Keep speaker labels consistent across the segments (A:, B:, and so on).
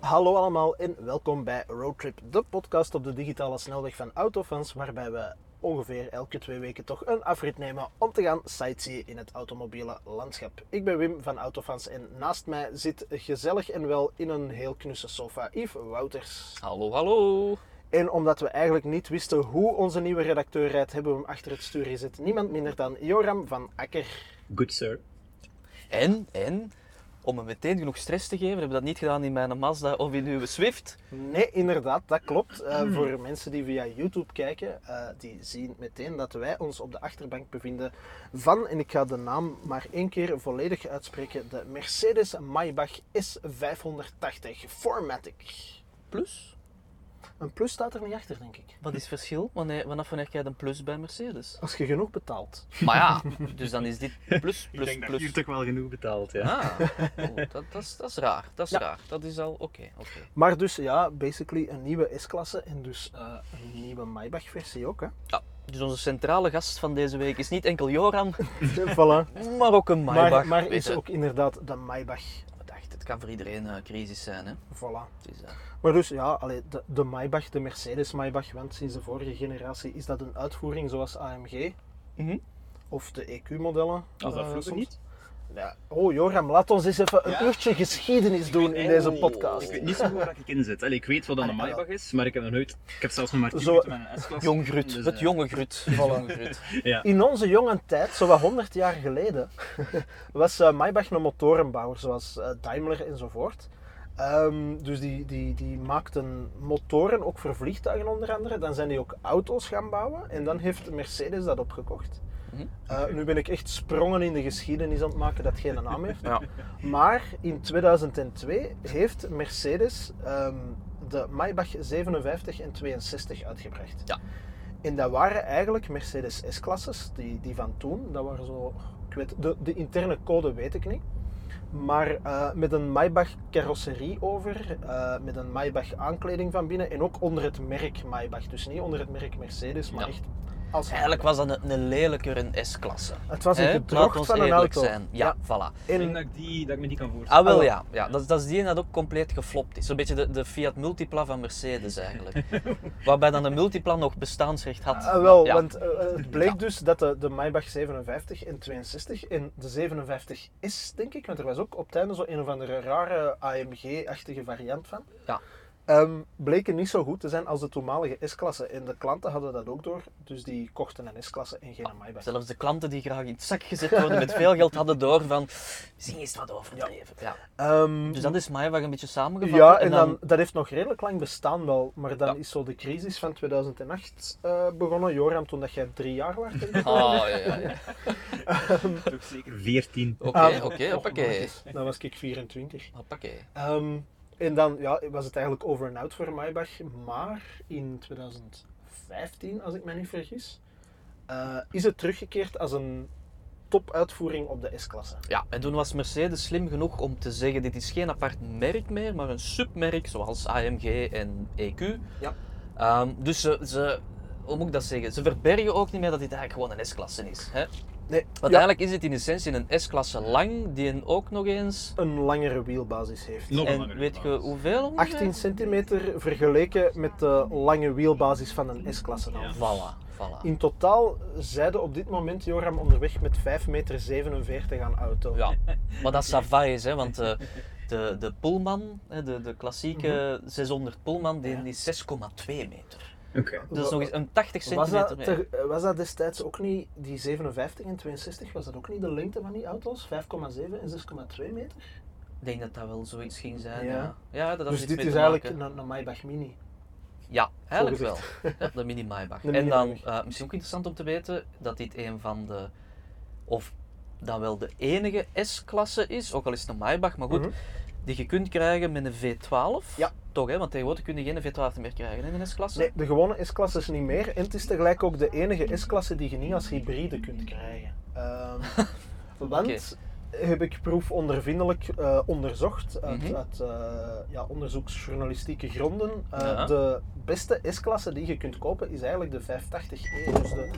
A: Hallo allemaal en welkom bij Roadtrip, de podcast op de digitale snelweg van Autofans, waarbij we ongeveer elke twee weken toch een afrit nemen om te gaan sightseeën in het automobiele landschap. Ik ben Wim van Autofans en naast mij zit gezellig en wel in een heel knusse sofa Yves Wouters.
B: Hallo, hallo.
A: En omdat we eigenlijk niet wisten hoe onze nieuwe redacteur rijdt, hebben we hem achter het stuur gezet. Niemand minder dan Joram van Akker.
C: Good sir.
B: En, en, om me meteen genoeg stress te geven, hebben we dat niet gedaan in mijn Mazda of in uw Swift.
A: Nee, inderdaad, dat klopt. Eh, Voor mensen die via YouTube kijken, eh, die zien meteen dat wij ons op de achterbank bevinden van, en ik ga de naam maar één keer volledig uitspreken, de Mercedes Maybach S580 Formatic.
B: Plus?
A: Een plus staat er niet achter, denk ik.
B: Wat is het verschil? Wanneer, vanaf wanneer krijg je een plus bij Mercedes?
A: Als je genoeg betaalt.
B: Maar ja, dus dan is dit plus, plus, plus.
C: toch wel genoeg betaald, ja.
B: Ah, oh, dat, dat, is, dat is raar. Dat is
A: Ja.
B: raar. Dat is al oké. oké.
A: Maar dus ja, basically een nieuwe S-klasse en dus eh, een nieuwe Maybach-versie ook. Hè?
B: Ja, dus onze centrale gast van deze week is niet enkel Joram,
A: voilà.
B: maar ook een Maybach.
A: maar maar
B: Weet
A: is
B: je,
A: ook inderdaad de Maybach.
B: we dachten, het kan voor iedereen eh, crisis zijn. Hè?
A: Voilà.
B: Het is, eh,
A: Maar dus ja, allee, de, de Maybach, de Mercedes Maybach, want sinds de vorige generatie is dat een uitvoering zoals AMG
B: mhm.
A: of de EQ-modellen.
C: Als dat
A: eh,
C: vroeger
A: soms.
C: niet?
A: Ja. Oh Joram, laat ons eens even
C: Ja?
A: een uurtje geschiedenis doen in deze
C: Ik
A: podcast.
C: weet niet zo goed waar ik in zit. Allee, ik weet wat dan een
A: Allee,
C: Maybach is, maar ik heb nog nooit... Ik heb zelfs nog maar 10
A: Zo-
C: minuten met een S-klasse.
B: Jong Grut,
C: Dus,
B: het
C: eh,
B: jonge Grut. Het jonge Grut.
C: Ja.
A: In onze jonge tijd, zo wat 100 jaar geleden, was eh, Maybach een motorenbouwer, zoals eh, Daimler enzovoort. Ehm, dus die, die, die maakten motoren ook voor vliegtuigen onder andere. Dan zijn die ook auto's gaan bouwen en dan heeft Mercedes dat opgekocht.
B: Mhm.
A: Eh, nu ben ik echt sprongen in de geschiedenis aan het maken dat geen naam heeft.
B: Ja.
A: Maar in 2002 heeft Mercedes ehm, de Maybach 57 en 62 uitgebracht.
B: Ja.
A: En dat waren eigenlijk Mercedes S-klasses, die, die van toen. Dat waren zo, ik weet, de, de interne code weet ik niet. Maar eh, met een Maybach carrosserie over, eh, met een Maybach aankleding van binnen en ook onder het merk Maybach. Dus niet onder het merk Mercedes, maar
B: Ja.
A: echt als
B: Eigenlijk was dat een, een lelijker een S-klasse.
A: Het was een
B: Hè?
A: gedrocht
B: Laat ons
A: van een
B: eerlijk
A: auto.
B: Zijn. Ja, voilà.
C: Ik
A: En-
C: denk dat ik, die, dat ik me die kan voorstellen.
B: Ah, wel
A: Ah,
B: ja. ja dat, is- dat is die en dat ook compleet geflopt is. Zo'n beetje de, de Fiat Multipla van Mercedes eigenlijk. Waarbij dan de Multipla nog bestaansrecht had.
A: Ah, wel,
B: Ja.
A: want eh, eh, het bleek dus dat de, de Maybach 57 en 62 en de 57 is, denk ik, want er was ook op het einde zo een of andere rare AMG-achtige variant van.
B: Ja.
A: Ehm, bleken niet zo goed te zijn als de toenmalige S-klasse. En de klanten hadden dat ook door, dus die kochten een S-klasse en geen een Maybach.
B: Zelfs de klanten die graag in het zak gezet worden met veel geld hadden door van... Misschien is het wat overdreven. Ja.
A: Ehm,
B: Dus dat is Maybach een beetje samengevat.
A: ja, en dan, dat heeft nog redelijk lang bestaan wel, maar dan
B: Ja.
A: is zo de crisis van 2008 eh, begonnen. Joram, toen dat jij drie jaar was, denk ik.
B: Oh, ja, ja, ja.
C: Toch zeker 14.
B: Oké,
A: Ah,
B: oké,
A: oh,
B: hoppakee.
A: mannetjes. Dan was ik 24.
B: Hoppakee.
A: Ehm, en dan ja, was het eigenlijk over en out voor Maybach. Maar in 2015, als ik me niet vergis, eh, is het teruggekeerd als een topuitvoering op de S-klasse.
B: Ja, en toen was Mercedes slim genoeg om te zeggen: dit is geen apart merk meer, maar een submerk zoals AMG en EQ.
A: Ja.
B: Ehm, dus ze, ze, hoe moet ik dat zeggen? Ze verbergen ook niet meer dat dit eigenlijk gewoon een S-klasse is. Hè?
A: Nee,
B: Want
A: ja,
B: eigenlijk is het in essentie een S-klasse lang, die een ook nog eens.
A: een langere wielbasis heeft.
C: Nog
B: en
C: langer
B: weet je
C: trouwens.
B: hoeveel? ongeveer?
A: 18 centimeter vergeleken met de lange wielbasis van een S-klasse. dan.
B: Voilà, voilà.
A: In totaal zeiden op dit moment Joram onderweg met 5,47 meter aan auto.
B: Ja, maar dat Sava is, hè, want eh, de, de Pullman, hè, de, de klassieke 600 Pullman, die
A: Mhm. Ja.
B: is 6,2 meter.
C: Oké.
B: Dat is nog eens een 80
A: Was
B: centimeter.
A: dat,
B: meer.
A: ter- eh, was dat destijds ook niet, die 57 en 62, was dat ook niet de lengte van die auto's? 5,7 en 6,2 meter?
B: Ik denk dat dat wel zoiets ging zijn.
A: Ja.
B: Ja, ja. dat had
A: dus
B: iets
A: dit
B: mee
A: is
B: te
A: eigenlijk
B: maken.
A: een, een Maybach Mini.
B: Ja, eigenlijk wel.
A: Volgens
B: Ja, de Mini Maybach.
A: De
B: en
A: Mini
B: dan,
A: Maybach.
B: eh, misschien ook interessant om te weten, dat dit een van de, of dan wel de enige S-klasse is, ook al is het een Maybach, maar goed,
A: Mhm.
B: die je kunt krijgen met een V12.
A: Ja.
B: Toch, hè? Want tegenwoordig kun je geen V12 meer krijgen in een S-klasse.
A: Nee, de gewone S-klasse is niet meer. En het is tegelijk ook de enige S-klasse die je niet als hybride kunt krijgen. Ehm, want, heb ik proefondervindelijk eh, onderzocht, uit,
B: Mhm.
A: uit eh, ja, onderzoeksjournalistieke gronden. Eh,
B: Ja.
A: E, De beste S-klasse die je kunt kopen is eigenlijk de 580e. Dus de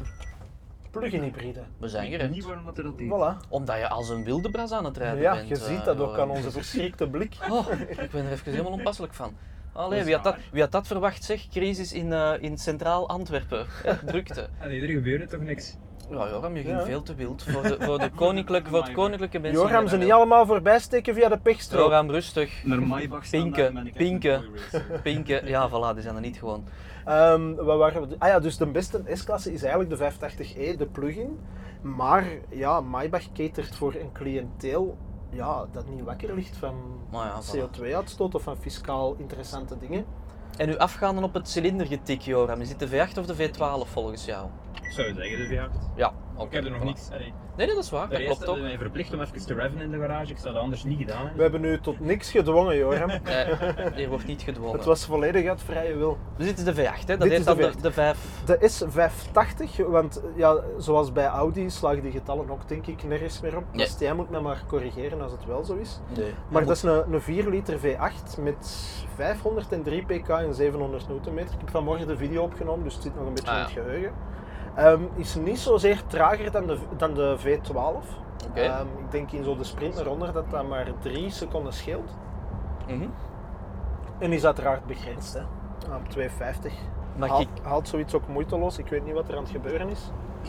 A: plug-in hybride.
B: We zijn gered.
C: Niet waarom dat er dat deed.
A: Voilà.
B: Omdat je als een wilde bras aan het rijden
A: Ja,
B: bent.
A: je
B: eh,
A: ziet dat ook
B: Johan.
A: aan onze verschrikte blik.
B: Oh, ik ben er even helemaal onpasselijk van. Allee,
C: is
B: wie had, dat,
C: waar.
B: wie had dat verwacht, zeg? Crisis in, eh, in centraal Antwerpen. Ja, drukte.
C: Allee, er gebeurde toch niks?
B: Ja, Joram, je ging
A: Ja.
B: veel te wild voor, de, voor, de koninklijke, voor het koninklijke mensen. eh,
A: Joram, ze niet allemaal voorbij steken via de pechstrook.
B: Joram, rustig.
C: Naar Maybach staan
B: Pinken,
C: daar ben ik echt een
B: pinken.
C: boy racer.
B: Pinken. Ja, voilà, die zijn er niet gewoon.
A: Ehm, wat waren we- Ah ja, dus de beste S-klasse is eigenlijk de 580e, de plug-in. Maar ja, Maybach catert voor een cliënteel ja, dat niet wakker ligt van
B: Maar ja, voilà.
A: CO2-uitstoot of van fiscaal interessante dingen.
B: En nu afgaande op het cilindergetik, Joram. Is dit de V8 of de V12 volgens jou?
C: Zou zeggen, de V8.
B: Ja, oké.
C: Ik heb er nog
B: voilà.
C: niks. Allee,
B: Nee, nee, dat is waar.
C: de
B: Dat
C: eerste
B: klopt ook.
C: hadden mij verplicht om even te reven in de garage. Ik zou dat anders niet gedaan
A: We
C: hebben.
A: hebben nu tot niks gedwongen, Joram.
B: Nee, Eh, hier wordt niet gedwongen.
A: Het was volledig uit vrije wil.
B: Dus dit is de V8, hè? Dat
A: Dit
B: heet
A: is
B: dan
A: de
B: de,
A: V8.
B: de 5.
A: De S580, want ja, zoals bij Audi slagen die getallen ook denk ik nergens meer op.
B: Nee.
A: Dus jij moet me maar corrigeren als het wel zo is.
B: Nee.
A: Maar dat is een, een 4 liter V8 met 503 pk en 700 Nm. Ik heb vanmorgen de video opgenomen, dus het zit nog een beetje
B: Ah,
A: in het geheugen. Ehm, is niet zozeer trager dan de, dan de V12.
B: Oké.
A: Ehm, ik denk in zo de sprint naar onder dat dat maar 3 seconden scheelt.
B: Mhm.
A: En is uiteraard begrensd, hè. Op 250.
B: Mag
A: Haal-
B: ik,
A: Haalt zoiets ook moeiteloos. Ik weet niet wat er aan het gebeuren is.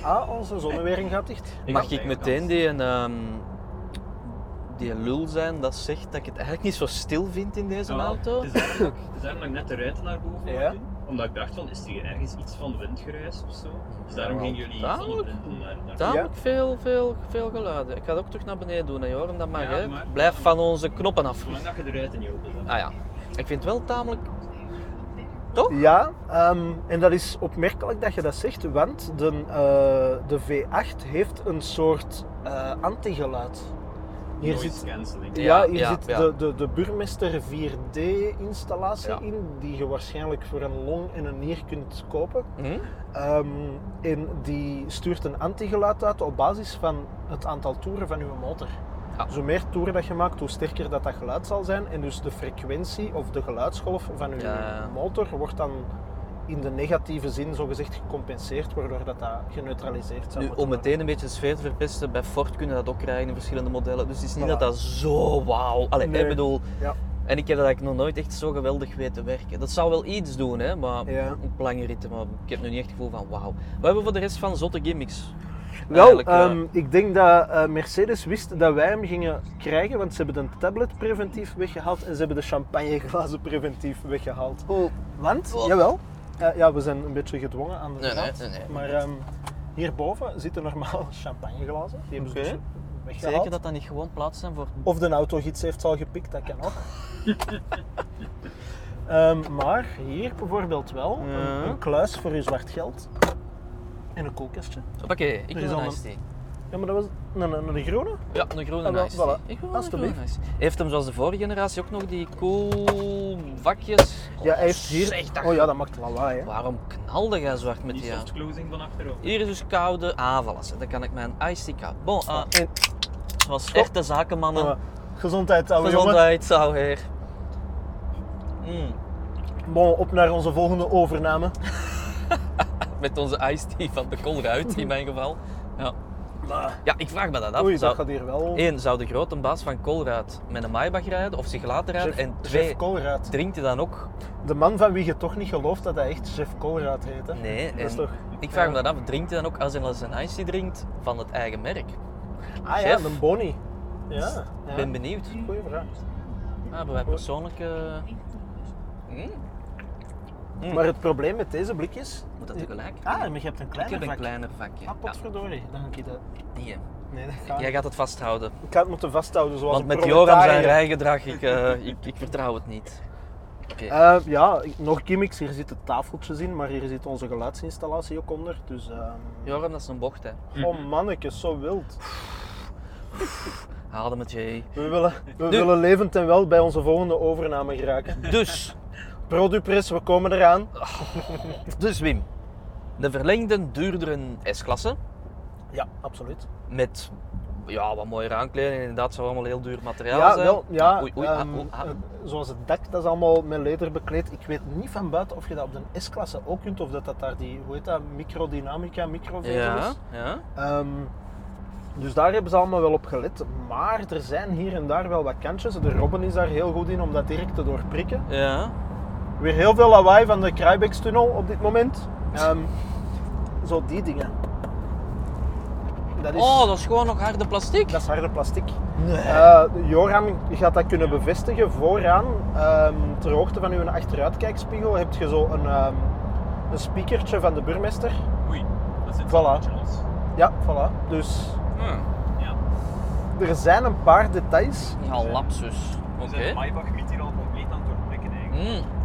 A: Ah, onze zonnewering gaat dicht.
B: mag
C: had
B: ik
C: eigenlijk
B: meteen
C: al-
B: die, een, ehm, die lul zijn dat zegt dat ik het eigenlijk niet zo stil vind in deze
C: Ja,
B: auto?
C: Het is daarom dat ik- het is daarom dat ik net de ruiten naar boven
A: Ja.
C: wou doen. Omdat ik dacht van, is er ergens iets van windgeruis of zo? Dus daarom
B: Ja,
C: gingen jullie
B: daar-
C: zonneprinten naar, naar
B: Tamelijk veel, veel, veel geluiden. Ik ga het ook terug naar beneden doen, hè, Joram. Dat mag,
C: Ja,
B: hè.
C: maar-
B: Blijf van onze knoppen af.
C: Zolang dat je de ruiten niet open zet.
B: Ah ja. Ik vind het wel tamelijk...
A: Ja, ehm, en dat is opmerkelijk dat je dat zegt, want de, eh, de V8 heeft een soort eh antigeluid. Hier
C: Noise
A: zit,
C: cancelling.
A: ja,
B: Ja,
A: hier
B: ja,
A: zit
B: ja.
A: De, de, de Burmester 4D-installatie
B: Ja.
A: in, die je waarschijnlijk voor een long en een nier kunt kopen.
B: Hm?
A: Ehm, en die stuurt een antigeluid uit op basis van het aantal toeren van je motor.
B: Ja.
A: Dus hoe meer toeren dat je maakt, hoe sterker dat, dat geluid zal zijn. En dus de frequentie of de geluidsgolf van je
B: Ja.
A: motor wordt dan in de negatieve zin zogezegd gecompenseerd, waardoor dat, dat geneutraliseerd zou
B: Nu,
A: moeten
B: om meteen een beetje de sfeer te verpesten, bij Ford kunnen dat ook krijgen in verschillende modellen. Dus het is niet
A: Voilà.
B: dat dat zo wauw... Allee,
A: Nee.
B: ik bedoel...
A: Ja.
B: En ik heb dat eigenlijk nog nooit echt zo geweldig weten werken. Dat zou wel iets doen, hè, maar
A: Ja.
B: op lange ritten. Maar ik heb nu niet echt het gevoel van wauw. We hebben voor de rest van zotte gimmicks.
A: Wel,
B: Eigenlijk, eh,
A: ehm, ik denk dat eh, Mercedes wist dat wij hem gingen krijgen, want ze hebben de tablet preventief weggehaald en ze hebben de champagneglazen preventief weggehaald.
B: Oh.
A: Want,
B: Oh.
A: jawel, eh, ja, we zijn een beetje gedwongen aan de
B: Nee, nee,
A: draad.
B: nee, nee.
A: Maar ehm, hierboven zitten normaal champagneglazen. Die hebben ze
B: Oké.
A: dus weggehaald.
B: Zeker dat dat niet gewoon plaats zijn voor...
A: Of de autogids heeft ze al gepikt, dat kan ook. Ehm, maar hier bijvoorbeeld wel
B: Ja.
A: een, een kluis voor uw zwart geld. En een koelkastje.
B: Hoppakee, ik
A: is
B: wil
A: al
B: een
A: een-
B: iced tea.
A: Ja, maar dat was een, een, een groene.
B: Ja, een groene
A: Ah, wel,
B: iced tea.
A: voilà.
B: Ik wil een
A: Alsjeblieft.
B: groene iced tea. Heeft hem zoals de vorige generatie ook nog die cool vakjes?
A: ja,
B: Oh,
A: hij heeft hier...
B: zeg, dat- Ah.
A: Oh ja, dat maakt lawaai, hè.
B: Waarom knalde jij zwart met
C: Die
B: die aan?
C: soft closing van achterop.
B: Hier is dus koude avalas. Dan kan ik mijn iced tea koud. Bon, ah,
A: En,
B: zoals echte zakenmannen.
A: eh, gezondheid, oude jongen.
B: Ah. Gezondheid, zou heer. Mm,
A: Bon, op naar onze volgende overname.
B: met onze iced tea van de Colruyt in mijn geval. Ja.
A: Maar,
B: ja, ik vraag me Ah, dat af.
A: Ah, oei, dat
B: zou,
A: gaat hier wel...
B: Eén, zou de grote baas van Colruyt met een Maybach rijden of zich laten rijden?
A: Jeff-
B: en twee,
A: Jeff Colruyt.
B: drinkt hij dan ook?
A: De man van wie je toch niet gelooft dat hij echt Jeff Colruyt heet, hè?
B: Nee.
A: Dat is
B: en
A: toch-
B: Ik vraag
A: ja.
B: me dat af, drinkt hij dan ook als hij zijn iced tea drinkt van het eigen merk?
A: Ah ja,
B: Jeff.
A: een Bonnie. Ja.
B: Ik
A: ja.
B: ben benieuwd.
A: Goeie vraag.
B: Ah, hebben wij persoonlijke... Mm, Mm.
A: Hmm? Maar het probleem met deze blikjes...
B: moet dat tegelijk?
A: Ah, maar je hebt een
B: ik
A: kleiner
B: heb een
A: vak.
B: kleiner vakje.
A: Ah, potverdorie. Dan kan ik dat...
B: Ja, die, hè.
A: Nee, dat gaat
B: Jij
A: niet.
B: gaat het vasthouden.
A: Ik ga het moeten vasthouden zoals
B: Want
A: een
B: met Joram zijn
A: proletariër.
B: rijgedrag, ik, eh, ik, ik vertrouw het niet. Oké.
A: Eh, ja, nog gimmicks. Hier zitten tafeltjes in, maar hier zit onze geluidsinstallatie ook onder. Dus, ehm
B: Joram, dat is een bocht, hè.
A: Oh mannetjes, zo wild.
B: Haal hem het je.
A: We willen, we willen levend en wel bij onze volgende overname geraken.
B: Dus,
A: Producpress, we komen eraan.
B: dus Wim. De verlengde, duurdere S-klasse.
A: Ja, absoluut.
B: Met ja, wat mooie aankleding. Inderdaad, zou allemaal heel duur materiaal
A: Ja,
B: zijn.
A: wel, ja,
B: Ah, oei, oei, ah,
A: ehm,
B: oei, ah.
A: het- zoals het dak, dat is allemaal met leder bekleed. Ik weet niet van buiten of je dat op de S-klasse ook kunt, of dat dat daar die, hoe heet dat, microdynamica, microvezel
B: Ja,
A: is.
B: ja.
A: Ehm, dus daar hebben ze allemaal wel op gelet. Maar er zijn hier en daar wel wat kantjes. De Robben is daar heel goed in om dat direct te doorprikken.
B: ja.
A: Weer heel veel lawaai van de Kruibekstunnel op dit moment. Ehm, zo die dingen. Dat is,
B: Oh, dat is gewoon nog harde plastic.
A: dat is harde plastic. Eh, Joram gaat dat kunnen bevestigen. Vooraan, ehm, ter hoogte van uw achteruitkijkspiegel, heb je zo een, ehm, een speakertje van de burgemeester.
C: Oei, dat zit
A: Voilà.
C: een beetje los.
A: Ja, voilà. Dus
B: Ja,
C: Ja.
A: er zijn een paar details.
B: ja lapsus. Oké.
C: We zijn de Maybach niet hier al compleet aan het doorprikken eigenlijk.
B: Mm.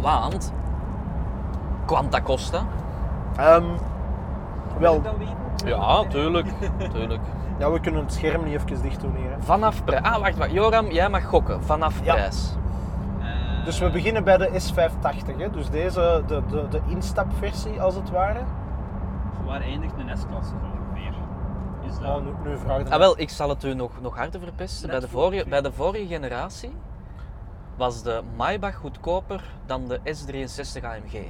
B: Want Quanta Costa.
A: Ehm, wel,
C: Moet ik dat weten?
B: tuurlijk.
A: ja, we kunnen het scherm niet even dicht doen hier. hè.
B: Vanaf prijs. Ah, wacht, wacht. Joram, jij mag gokken. Vanaf
A: Ja.
B: prijs.
C: Eh,
A: Dus we beginnen bij de S580. Hè. Dus deze, de, de, de instapversie als het ware.
C: Waar eindigt een S-klasse zo ongeveer? Is dat...
A: Nou, nu, nu vraag je
B: Ah, wel, ik zal het u nog, nog harder verpesten.
C: Net
B: Bij de,
C: voor
B: vorige,
C: twee.
B: bij de vorige generatie was de Maybach goedkoper dan de S63 AMG.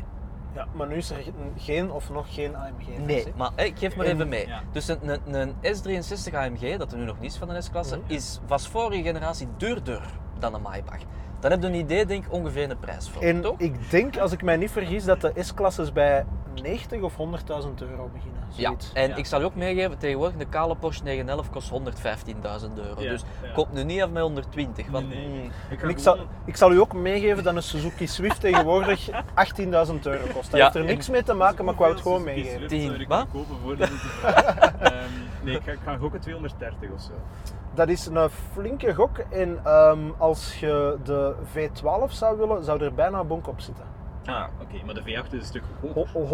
A: Ja, maar nu is er geen- geen of nog geen AMG.
B: Nee, maar hé, ik geef maar
A: En-
B: even mee.
C: ja.
B: Dus een, een, een S63 AMG, dat er nu nog niet is van de S-klasse,
A: Mhm.
B: is, was vorige generatie duurder dan een Maybach. Dan heb je een idee, denk ik, ongeveer een prijs voor,
A: En
B: toch?
A: ik denk, als ik mij niet vergis, dat de S-klasses bij 90 of 100.000 euro beginnen.
B: Ja,
A: Zoiets.
B: en
C: Ja.
B: ik zal je ook meegeven, tegenwoordig de kale Porsche 911 kost 115.000 euro.
C: Ja,
B: dus
C: ja.
B: komt nu niet af met 120, want
C: Nee, nee. Ik
A: En
C: ga
A: ik, zal,
C: gewoon-
A: ik zal u ook meegeven dat een Suzuki Swift tegenwoordig 18.000 euro kost. Dat
B: Ja,
A: heeft er
B: en-
A: niks mee te maken, maar ik wou het gewoon meegeven.
B: Tien,
C: Ik
B: wat?
C: kopen voordat het te vragen. Ehm, Nee, ik ga, ik ga gokken 230 of zo.
A: Dat is een flinke gok. En ehm, als je de V12 zou willen, zou er bijna een bonk op zitten.
C: Ah, oké, maar de V8 is een stuk
A: Ho-
C: goedkoper.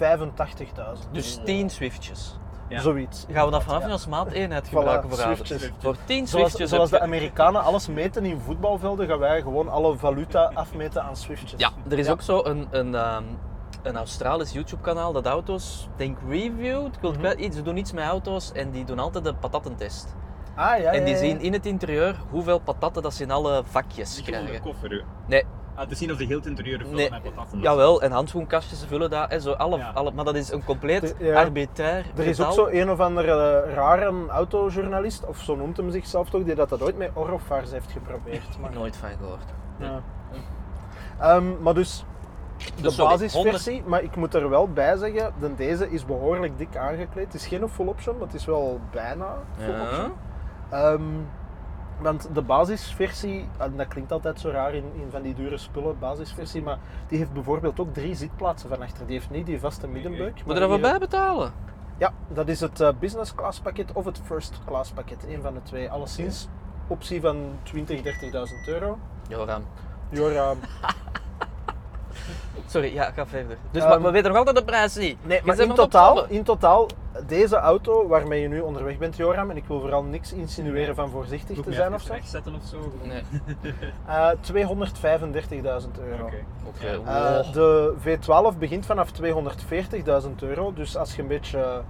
A: 185.000.
B: dus 10 Swiftjes.
C: Ja.
A: Zoiets.
B: Gaan we dat vanaf nu
A: Ja.
B: als maateenheid gebruiken voor ouders?
A: Swiftjes.
B: Voor 10
A: Zoals,
B: Swiftjes
A: zoals de
B: heb je-
A: Amerikanen alles meten in voetbalvelden, gaan wij gewoon alle valuta afmeten aan Swiftjes.
B: Ja, er is
A: Ja.
B: ook zo een, een, ehm, een Australisch YouTube-kanaal dat auto's, denk reviewed, ik wil het
A: Mhm.
B: kwijt, iets, ze doen iets met auto's en die doen altijd de patattentest.
A: Ah, ja,
B: En die
A: ja, ja.
B: zien in het interieur hoeveel patatten dat ze in alle vakjes
C: Niet gewoon de
B: krijgen.
C: koffer. hè.
B: Nee.
C: Ah, het is niet of de heel het interieur vult
B: Nee,
C: met patatten.
B: Jawel, en handschoenkastjes ze vullen dat, hè, zo, alle,
C: dus. Ja.
B: alle, maar dat is een compleet
A: De- ja.
B: arbitrair
A: Er is ook
B: getal.
A: zo een of andere eh, rare autojournalist, of zo noemt hem zichzelf toch, die dat, dat ooit met Orofars heeft geprobeerd. Maar,
B: Nooit van gehoord.
A: ja. Ehm, maar dus, de
B: Dus sorry,
A: basisversie, maar ik moet er wel bij zeggen, de deze is behoorlijk dik aangekleed. Het is geen full option, maar het is wel bijna full
B: Ja.
A: option. Ehm, want de basisversie, en dat klinkt altijd zo raar in, in van die dure spullen, basisversie, maar die heeft bijvoorbeeld ook drie zitplaatsen van achter. Die heeft niet die vaste middenbeuk.
B: Moet je
A: maar
B: daarvoor
A: die-
B: bij betalen?
A: ja, dat is het eh, business class pakket of het first class pakket. Een van de twee. Alleszins optie van 20.000, 30.000 euro.
B: Joram.
A: Jora,
B: Sorry, ja, ga verder. Dus
A: Ehm,
B: maar we weten nog altijd de prijs niet.
A: nee,
B: Je
A: maar
B: bent
A: in
B: aan het
A: totaal,
B: opvallen.
A: in totaal, deze auto waarmee je nu onderweg bent, Joram, en ik wil vooral niks insinueren van voorzichtig te zijn of zo,
C: Wegzetten of zo.
B: Nee,
A: eh, 235.000
C: Oké.
A: euro.
B: oké.
C: Ja.
A: Eh,
B: wow.
A: de V12 begint vanaf 240.000 euro, dus als je een beetje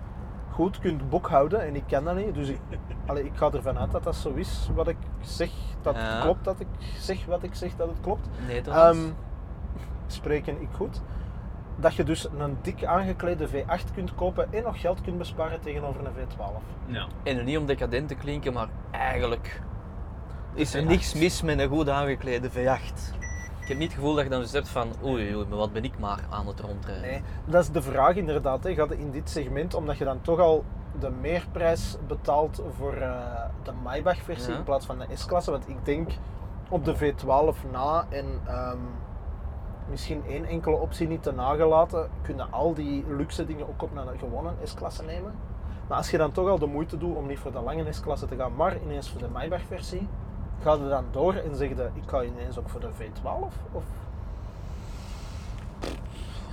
A: goed kunt boekhouden, en ik ken dat niet, dus ik, allee, ik ga ervan uit dat dat zo is wat ik zeg, dat
B: Ja.
A: het klopt, dat ik zeg wat ik zeg dat het klopt.
B: Nee, dat
A: Ehm,
B: is-
A: spreken ik goed. Dat je dus een dik aangeklede V8 kunt kopen en nog geld kunt besparen tegenover een V12.
C: Ja.
B: En niet om decadent te klinken, maar eigenlijk is er
A: V8.
B: niks mis met een goed aangeklede V8. Ik heb niet het gevoel dat je dan dus hebt van oei, oei, maar wat ben ik maar aan het rondrijden.
A: Nee, dat is de vraag inderdaad. Hè. Gaat het in dit segment, omdat je dan toch al de meerprijs betaalt voor eh, de Maybach-versie
B: Ja.
A: in plaats van de S-klasse? Want ik denk op de V12 na en ehm, misschien één enkele optie niet te nagelaten, kunnen al die luxe dingen ook op een gewone S-klasse nemen. Maar als je dan toch al de moeite doet om niet voor de lange S-klasse te gaan, maar ineens voor de Maybach-versie, ga je dan door en zeg je, ik ga ineens ook voor de V12? Of?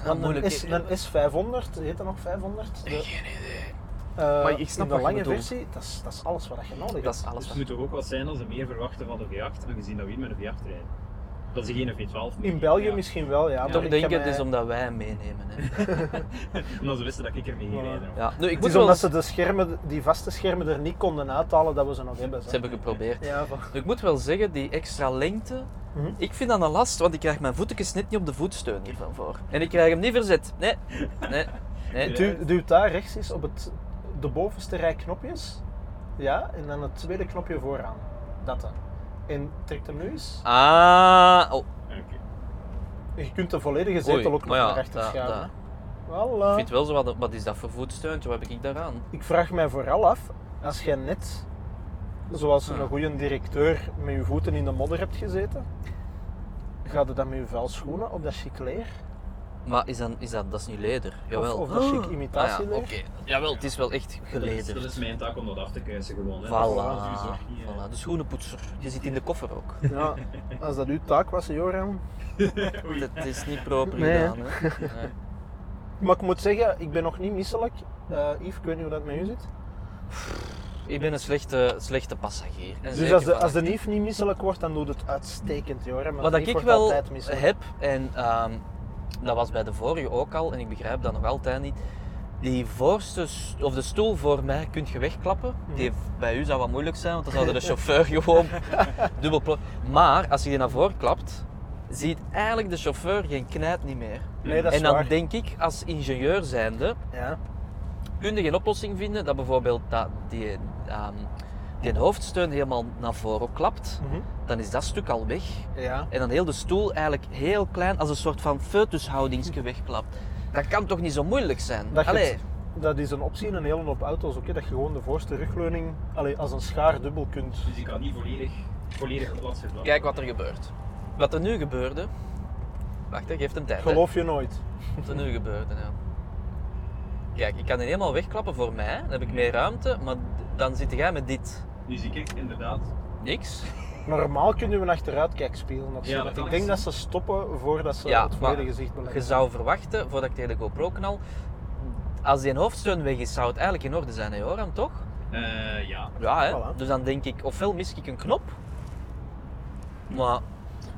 B: Ja,
A: Want
B: moeilijk.
A: een, S,
B: Ik-
A: een 500 heet dat nog 500? De,
B: Geen idee.
A: eh,
B: Maar ik snap
A: in de
B: wat je
A: lange
B: bedoelt.
A: versie, dat is, dat is alles wat je nodig
B: Dat is
A: hebt.
B: alles.
C: Dus het
B: wat-
C: moet toch ook wat zijn als ze meer verwachten van de V8, aangezien dat we hier met een V8 rijden. Dat is geen V12.
A: In België
C: ja.
A: misschien wel, ja. maar
B: Toch
A: ik
B: denk
A: heb eh,
B: ik, het
A: mij-
B: is omdat wij hem meenemen. Hè.
C: Omdat ze wisten dat ik ermee gereden heb.
B: Ja. Nu, ik
A: Het
B: moet
A: is
B: wel
A: omdat
B: eens-
A: ze de schermen, die vaste schermen er niet konden uithalen dat we ze nog hebben.
B: Ze
A: Zo.
B: hebben geprobeerd.
A: Ja, van-
B: Nu, ik moet wel zeggen, die extra lengte,
A: Mhm.
B: ik vind dat een last, want ik krijg mijn voetjes net niet op de voetsteun hiervan voor. En ik krijg hem niet verzet. Nee, nee, nee.
C: Ja.
A: Duw, duw daar rechts is op het, de bovenste rij knopjes. Ja, en dan het tweede knopje vooraan. Dat dan. En trek hem nu eens.
B: Ah, oh,
C: Oké.
A: Je kunt de volledige
B: oei.
A: zetel ook nog
B: Maar ja,
A: naar rechter
B: da-
A: schuiven.
B: da. Ik
A: Voilà.
B: vind wel zo, wat, wat is dat voor voetsteuntje? Wat heb ik daaraan?
A: Ik vraag mij vooral af, als jij net, zoals
B: Ja.
A: een goede directeur, met je voeten in de modder hebt gezeten, gaat het dan met je vuilschoenen op dat chic leer?
B: Maar is, dan, is dat, dat is niet leder? Jawel.
A: of dat is chic imitatieleder.
B: Ah, ja, oké. Jawel, het is wel echt
C: Dat is- Dat is
B: gelederd.
C: mijn taak om dat af te kuisen gewoon.
B: Voilà.
C: hè. Dat is uw zorg niet, hè.
B: voilà. De schoenenpoetser. Je zit in de koffer ook.
A: Ja, als dat uw taak was, Joram.
C: Oei.
B: Dat is niet proper
A: Nee, hè.
B: gedaan. Hè. Nee.
A: Maar ik moet zeggen, ik ben nog niet misselijk. Eh Yves, ik weet niet hoe dat met u zit.
B: Ik ben een slechte, slechte passagier. En
A: Dus
B: zeker
A: als de,
B: van-
A: als de Yves niet misselijk wordt, dan doet het uitstekend, Joram. Maar
B: Wat
A: de Yves
B: dat ik
A: wordt
B: wel
A: altijd misselijk.
B: heb, en ehm, dat was bij de vorige ook al, en ik begrijp dat nog altijd niet. Die voorste, s- of de stoel voor mij kun je wegklappen.
A: Mhm.
B: Die bij u zou wat moeilijk zijn, want dan zou de chauffeur gewoon dubbel plo- Maar als je die naar voren klapt, ziet eigenlijk de chauffeur geen knijt niet meer.
A: Nee, dat is
B: en dan
A: waar.
B: denk ik, als ingenieur zijnde,
A: Ja.
B: kun je geen oplossing vinden dat bijvoorbeeld dat die, ehm, die hoofdsteun helemaal naar voren klapt.
A: Mhm.
B: Dan is dat stuk al weg.
A: ja.
B: En dan heel de stoel eigenlijk heel klein als een soort van foetushoudingsje wegklapt. Dat kan toch niet zo moeilijk zijn?
A: Dat, je
B: Allee,
A: het- dat is een optie in een hele hoop auto's ook. hè, Dat je gewoon de voorste rugleuning allee, als een schaar dubbel kunt.
C: Dus ik kan niet volledig, volledig plat zitten.
B: kijk wat er gebeurt. Wat er nu gebeurde... Wacht, hè, geef hem tijd. hè.
A: Geloof je nooit.
B: Wat er nu gebeurde, ja. Kijk, ik kan die helemaal wegklappen voor mij, dan heb ik meer ruimte, maar d- dan zit jij met dit.
C: Nu zie ik inderdaad.
B: Niks.
A: Normaal kunnen we een achteruitkijk spelen.
C: Ja,
A: Natuurlijk.
C: dat kan
A: ik
C: ik
A: denk
C: zien.
A: dat ze stoppen voordat ze
B: Ja,
A: het
B: maar
A: volledige gezicht
B: Je
A: beleggen.
B: zou verwachten, voordat ik tegen de GoPro knal, als die hoofdsteun weg is, zou het eigenlijk in orde zijn, hè, Joram, toch?
C: Eh, ja.
B: Ja, hè?
A: Voilà.
B: dus dan denk ik, ofwel mis ik een knop, maar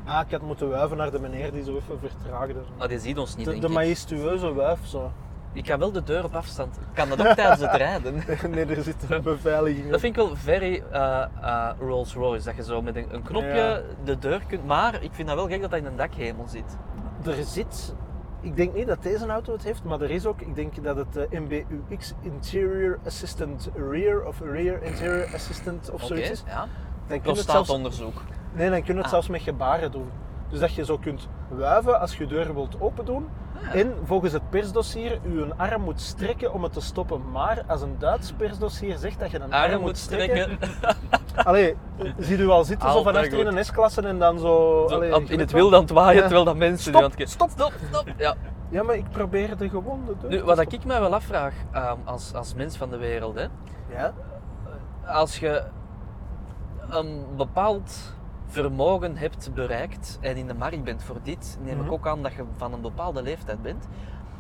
A: Ah, ik had moeten wuiven naar de meneer die zo even vertraagde.
B: ah, die ziet ons niet,
A: De,
B: denk
A: de
B: ik.
A: majestueuze wuif zo.
B: Ik ga wel de deur op afstand. Ik kan dat ook tijdens het rijden.
A: nee, er zit een beveiliging
B: Dat
A: op.
B: vind ik wel very eh, eh, Rolls Royce, dat je zo met een, een knopje de deur kunt. Maar ik vind dat wel gek dat dat in een dakhemel zit.
A: Er zit... Ik denk niet dat deze auto het heeft, maar er is ook... Ik denk dat het eh, MBUX Interior Assistant Rear of Rear Interior Assistant of zoiets is.
B: ja.
A: Dan kun je het zelfs
B: Prostaatonderzoek.
A: Nee, dan kun je het
B: Ah.
A: zelfs met gebaren doen. Dus dat je zo kunt wuiven als je deur wilt opendoen.
B: Ah.
A: En volgens het persdossier je een arm moet strekken om het te stoppen. Maar als een Duits persdossier zegt dat je een arm,
B: Arm moet strekken.
A: Allee, ziet u al zitten zo van
B: Altijd
A: achter in
B: goed.
A: een S-klasse en dan zo...
B: Zo,
A: allee,
B: aan- in
A: glippen.
B: het wild aan het waaien,
A: Ja.
B: terwijl dat mensen...
A: Stop,
B: die aan het ke-
A: stop.
B: stop, stop. Ja.
A: Ja, maar ik probeer de gewonde deur
B: Nu,
A: te
B: wat
A: stoppen.
B: ik mij wel afvraag, ehm, als, als mens van de wereld, hè.
A: Ja?
B: als je een bepaald vermogen hebt bereikt en in de markt bent voor dit, neem
A: Mhm.
B: ik ook aan dat je van een bepaalde leeftijd bent.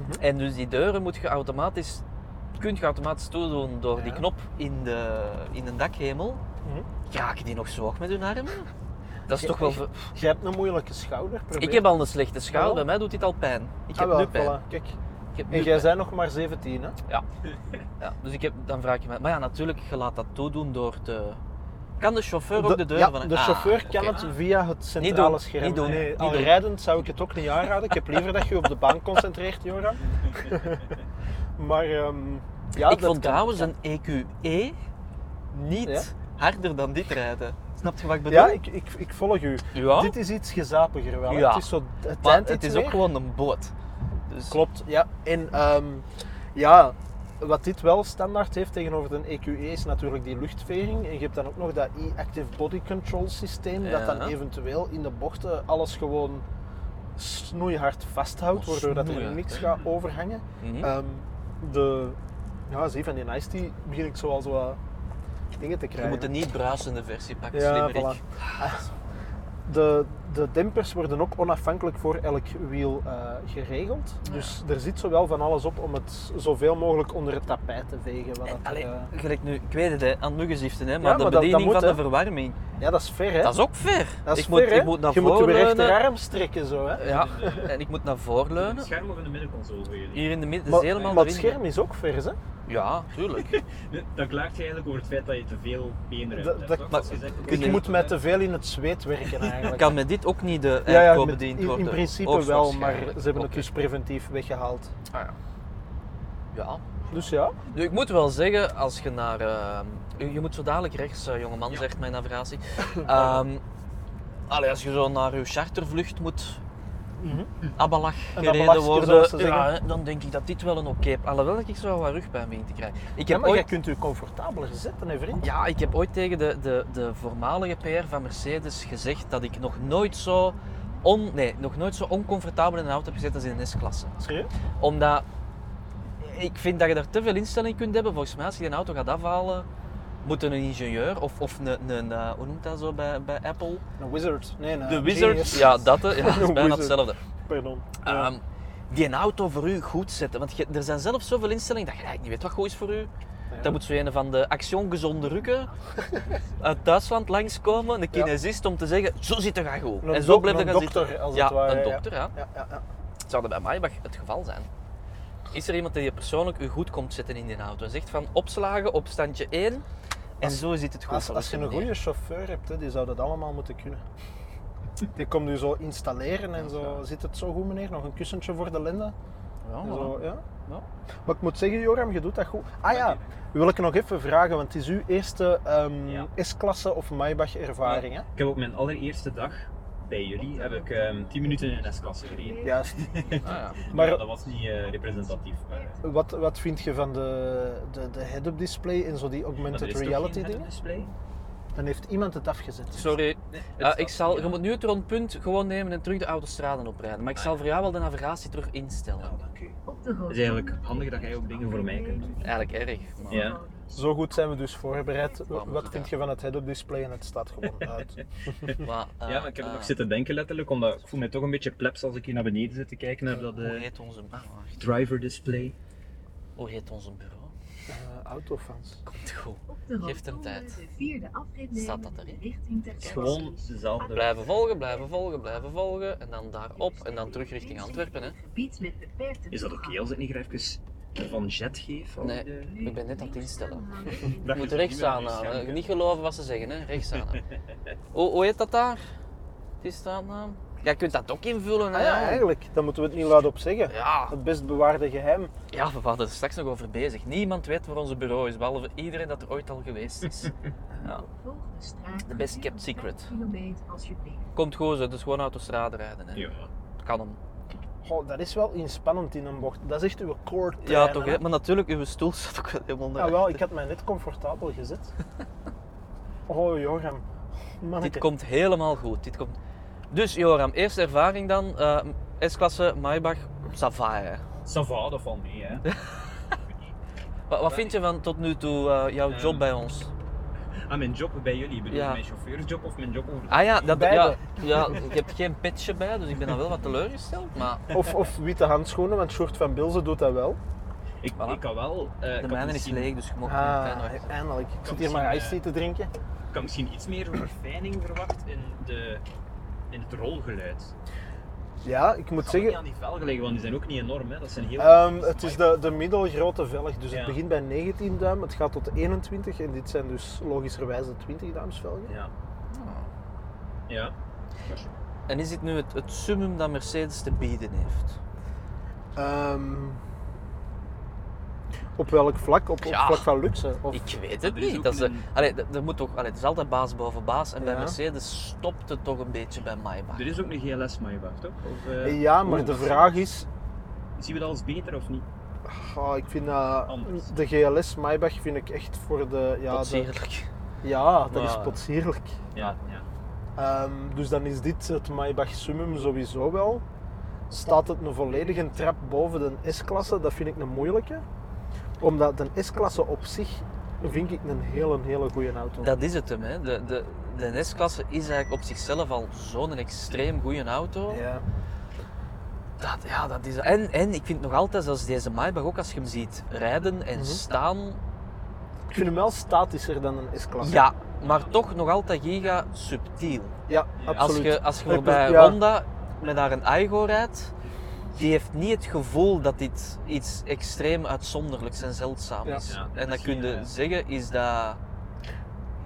A: Mhm.
B: En dus die deuren moet je automatisch, kun je automatisch toedoen door die
A: Ja.
B: knop in de, in de dakhemel.
A: Mhm.
B: Kraken die nog zo hoog met hun armen? Dat is
A: Ja,
B: toch wel...
A: ik-
B: ver-
A: Jij hebt een moeilijke schouder. Probeer.
B: Ik heb al een slechte schouder,
A: Jawel.
B: bij mij doet dit al pijn. Ik
A: Ah,
B: heb
A: wel,
B: nu pijn.
A: voilà, Kijk.
B: Ik heb nu
A: En jij
B: pijn.
A: bent nog maar 17, hè?
B: Ja, dus ik heb, dan vraag je mij... Maar ja, natuurlijk, je laat dat toedoen door te... Kan de chauffeur ook de deur
A: ja,
B: van... een-
A: de
B: Ah,
A: chauffeur kan
B: oké.
A: het via het centrale
B: doen,
A: scherm.
B: niet doen,
A: Nee,
B: niet
A: al
B: doen.
A: rijdend zou ik het ook niet aanraden. Ik heb liever dat je je op de baan concentreert, Joram. maar ehm, ja, dat
B: ik
A: kan.
B: vond trouwens een EQE niet harder dan dit rijden. Snap je wat ik bedoel?
A: Ja, ik, ik, ik volg u.
B: Ja?
A: Dit is iets gezapiger wel.
B: Ja.
A: Het is zo het
B: maar
A: eind
B: het
A: iets
B: is ook
A: meer.
B: gewoon een boot. Dus
A: Klopt, ja. En ehm, ja, wat dit wel standaard heeft tegenover een EQE E is natuurlijk die luchtvering. En je hebt dan ook nog dat E-Active Body Control systeem, dat dan
B: Ja.
A: eventueel in de bochten alles gewoon snoeihard vasthoudt,
B: Oh, Hm.
A: waardoor dat er
B: snoeihard,
A: niks
B: hè.
A: gaat overhangen.
B: Mhm.
A: Ehm, de, ja, zie van die Nice die begin ik zo al zo wat dingen te
B: je
A: krijgen.
B: moet een niet bruisende versie pakken,
A: Ja,
B: slimmerik.
A: voilà. Ah, de, de dempers worden ook onafhankelijk voor elk wiel eh, geregeld. Dus er zit zowel van alles op om het zoveel mogelijk onder het tapijt te vegen. Wat
B: En,
A: dat er,
B: allee,
A: eh,
B: gelijk nu, ik weet het, hè, aan het muggenziften, hè, maar
A: maar
B: de
A: dat- dat
B: bediening
A: moet,
B: van
A: hè.
B: de verwarming,
A: ja, dat is ver, hè?
B: dat is ook ver.
A: Dat is
B: ik
A: ver,
B: moet,
A: hè?
B: ik moet naar
A: je moet
B: voren
A: je
B: leunen.
A: rechterarm strekken, zo, hè?
B: Ja, en ik moet naar voren
C: In het
B: leunen.
C: scherm of in de middenconsole voor jullie?
B: Hier in de midden,
A: Maar,
B: is helemaal
A: maar het
B: erin.
A: scherm is ook vers, hè?
B: Ja, tuurlijk.
C: Dan klaagt je eigenlijk over het feit dat je te veel beenruimte
A: Dat-
C: hebt.
A: dat-
C: toch?
B: maar
C: Als je zegt,
B: kun
A: Ik
B: je-
A: moet met te veel in het zweet werken, eigenlijk.
B: Kan met dit ook niet de
A: ja, ja,
B: airco
A: met-
B: bediend
A: in,
B: worden?
A: in principe wel, maar ze
B: Hoogstwaarschijnlijk.
A: hebben het
B: Oké.
A: dus preventief weggehaald.
B: Ah, Ja.
A: Dus ja,
B: Nu, ik moet wel zeggen, als je naar... ehm, je je moet zo dadelijk rechts, eh, jongeman,
C: Ja.
B: zegt mijn navigatie. Ehm allee, als je zo naar je chartervlucht moet...
A: Mhm.
B: Abbalach
A: Een
B: gereden
A: Abbalachje, zoals ze
B: worden, ja,
A: zeggen.
B: hè, dan denk ik dat dit wel een oké... Alhoewel dat ik zo wat rugpijn begin te krijgen. Ik
A: ja
B: heb
A: maar
B: ooit...
A: jij kunt u comfortabeler zetten, hè, vriend?
B: Ja, ik heb ooit tegen de, de, de voormalige PR van Mercedes gezegd dat ik nog nooit zo, on, nee, nog nooit zo oncomfortabel in een auto heb gezeten als in een S-klasse.
A: Serieus?
B: Omdat ik vind dat je daar te veel instelling kunt hebben. Volgens mij, als je een auto gaat afhalen, moet er een ingenieur of, of een, een, eh, hoe noemt dat zo bij, bij Apple?
A: Een wizard. Nee, een
B: de wizard.
A: Eh, genius.
B: Ja, dat, hè. ja, dat is
A: Een
B: bijna
A: wizard.
B: hetzelfde.
A: Pardon. Ja.
B: Ehm, die een auto voor u goed zetten. Want je- er zijn zelf zoveel instellingen dat je eigenlijk niet weet wat goed is voor u.
A: Ja.
B: Dat moet zo een van de Action Gezonde Rukken uit Duitsland langskomen, een
A: Ja.
B: kinesist, om te zeggen: zo zit er gaan goed.
A: Een
B: en zo
A: dok-
B: blijft er
A: een
B: gaan
A: dokter,
B: zitten.
A: als
B: ja,
A: het ware,
B: een
A: ja.
B: dokter, ja.
A: Ja, ja, ja.
B: Het zou dat bij Maybach het geval zijn. Is er iemand die je persoonlijk u goed komt zetten in die auto? En zegt van opslagen op standje 1 en zo zit het goed
A: Als,
B: voor
A: als
B: ons
A: je een
B: meneer.
A: goede chauffeur hebt, hè, die zou dat allemaal moeten kunnen. Die komt u zo installeren en zo. Zit het zo goed, meneer? Nog een kussentje voor de lenden?
B: Ja,
A: En
B: voilà.
A: Zo, ja.
B: Ja.
A: Maar ik moet zeggen, Joram, je doet dat goed. Ah ja, wil ik nog even vragen, want het is uw eerste ehm,
C: Ja.
A: S-klasse of Maybach-ervaring, hè?
C: Ik heb op mijn allereerste dag bij jullie heb ik ehm 10 minuten in een S-klasse gereden.
A: Juist.
B: Ah, ja.
A: Maar-
C: Maar dat was niet eh, representatief. Maar, eh,
A: Wat, wat vind je van de, de, de head-up display en zo die
C: maar er
A: augmented
C: is toch
A: reality
C: geen
A: dingen?
C: display?
A: Dan heeft iemand het afgezet.
B: Sorry,
C: Nee,
B: Eh,
C: het-
B: ik zal, je
C: ja.
B: moet nu het rondpunt gewoon nemen en terug de autostraden oprijden. Maar ik
C: Ah,
B: zal
C: ja.
B: voor jou wel de navigatie terug instellen.
C: Ja, dank u.
D: Op de
C: Het
D: grond.
C: is eigenlijk handig dat jij ook dingen voor mij kunt doen.
B: Eigenlijk erg. maar-
C: Ja.
A: Zo goed zijn we dus voorbereid.
B: maar
A: Wat
B: ja.
A: vind je van het head-up display en het staat gewoon uit?
B: Maar, eh,
C: Ja, maar ik heb
B: eh,
C: nog zitten denken letterlijk, omdat ik voel me toch een beetje plebs als ik hier naar beneden zit te kijken naar dat
B: Hoe
C: eh,
B: heet onze, ah, wacht.
C: driver display.
B: hoe heet onze bureau?
A: Eh, autofans.
B: Komt goed.
D: Op de
B: Geef hem
D: rotonde
B: tijd.
D: De vierde afrit nemen
B: Staat dat erin?
D: Richting ter
C: Het is gewoon dezelfde.
B: Blijven volgen, blijven volgen, blijven volgen. En dan daarop en dan terug richting Antwerpen. Hè.
D: Gebied met beperkte
C: Is dat oké als ik niet graag even van jet geef? Al
B: Nee.
C: die, eh,
D: toegang.
B: Ik ben net aan het instellen.
D: Aanhouden.
C: Dat
B: Je moet
C: je
B: rechts
C: niet meer aan je
B: aanhalen.
C: scherm
B: hè.
C: kunt.
B: Niet geloven wat ze zeggen, hè. rechts aanhalen. Hoe, hoe heet dat daar? Die staannaam? Ja, je kunt dat ook invullen.
A: Ah
B: Hè,
A: ja,
B: jong.
A: eigenlijk. Dan moeten we het niet luid op zeggen.
B: Ja,
A: Het best bewaarde geheim.
B: ja, we waren er straks nog over bezig. Niemand weet waar onze bureau is, behalve iedereen dat er ooit al geweest is. Ja.
D: Volg de straat.
B: The best kept secret.
D: 5 Kilometer alsjeblieft.
B: Komt goed, zo, dus gewoon autostrade rijden. Hè.
C: Ja.
B: Kan hem.
A: Goh, dat is wel inspannend in een bocht. Dat is echt uw core
B: Ja,
A: trainen,
B: toch, hè? maar natuurlijk, uw stoel staat ook wel helemaal naar
A: Ah, wel, ik had mij net comfortabel gezet. Oh, Joram.
B: Dit
A: Manneke.
B: komt helemaal goed. Dit komt... Dus Joram, eerste ervaring dan. eh, S-klasse, Maybach, Safari.
C: Sava, dat valt mee, hè.
B: Wat, wat vind je van tot nu toe eh, jouw
C: Ehm.
B: job bij ons?
C: Ah, mijn job bij jullie. Bedoel je
B: Ja.
C: mijn chauffeursjob of mijn job over...
B: Ah ja, dat,
A: Beide.
B: ja, ja, ik heb geen petje bij, dus ik ben dan wel wat teleurgesteld. Maar eh,
A: Of, of witte handschoenen, want Short van Bilzen doet dat wel.
C: Ik,
B: Voilà.
C: ik kan wel... eh, ik
B: de
C: kan
B: mijne is
C: misschien-
B: leeg, dus je mag niet
A: Ah,
B: pijn doen.
A: eindelijk. Ik zit hier
C: misschien,
A: maar
C: eh,
A: iced tea te drinken.
C: Ik kan misschien iets meer verfijning verwacht in, de, in het rolgeluid.
A: Ja, ik moet
C: Ik kan het niet
A: zeggen,
C: aan die velgen leggen, want die zijn ook niet enorm, hè. Dat zijn heel...
A: ehm, het is de, de middelgrote velg. Dus het
C: Ja.
A: begint bij 19 duim, het gaat tot 21 en dit zijn dus logischerwijs de 20 duims velgen.
C: Ja. Ja.
B: En is dit nu het, het summum dat Mercedes te bieden heeft?
A: Ehm, op welk vlak? Op, op
B: Ja.
A: vlak van luxe? Of,
B: Ik weet
C: Maar
B: het
C: er is
B: niet.
C: ook
B: Dat is, de-
C: een-
B: allee, dat- dat moet toch, allee, het is altijd baas boven baas. En bij
A: Ja.
B: Mercedes stopt het toch een beetje bij Maybach.
C: Er is ook een GLS Maybach, toch? Of, eh,
A: ja, maar
C: oeh,
A: de vraag is,
C: Zien we dat als beter of niet?
A: ah, ik vind dat-
C: Anders.
A: de GLS Maybach vind ik echt voor de... Ja,
B: Tot
A: de-
B: zeerlijk.
A: ja dat is
B: Ja.
A: potsierlijk.
C: Ja,
B: Ah.
C: ja.
A: Ehm, dus dan is dit het Maybach Summum sowieso wel. Staat het een volledige trap boven de S-klasse? Dat vind ik een moeilijke. Omdat de S-klasse op zich vind ik een hele, hele goede auto.
B: Dat is het hem. Hè. De, de, de S-klasse is eigenlijk op zichzelf al zo'n extreem goede auto.
A: Ja.
B: Dat, ja, dat is... en, en ik vind nog altijd, zoals deze Maybach ook, als je hem ziet rijden en
A: Mhm.
B: staan,
A: Ik vind hem wel statischer dan een S-klasse.
B: ja, maar toch nog altijd giga subtiel.
A: Ja,
C: Ja.
B: Als
A: absoluut.
B: je, als je
A: Ik
B: voorbij
A: bedoel, ja.
B: Honda met haar een Aigo rijdt, die heeft niet het gevoel dat dit iets extreem uitzonderlijks en zeldzaams
A: Ja.
B: is.
C: Ja,
B: en dan
C: dat
B: kun
C: zie
B: je
C: je, ja.
B: zeggen, is dat,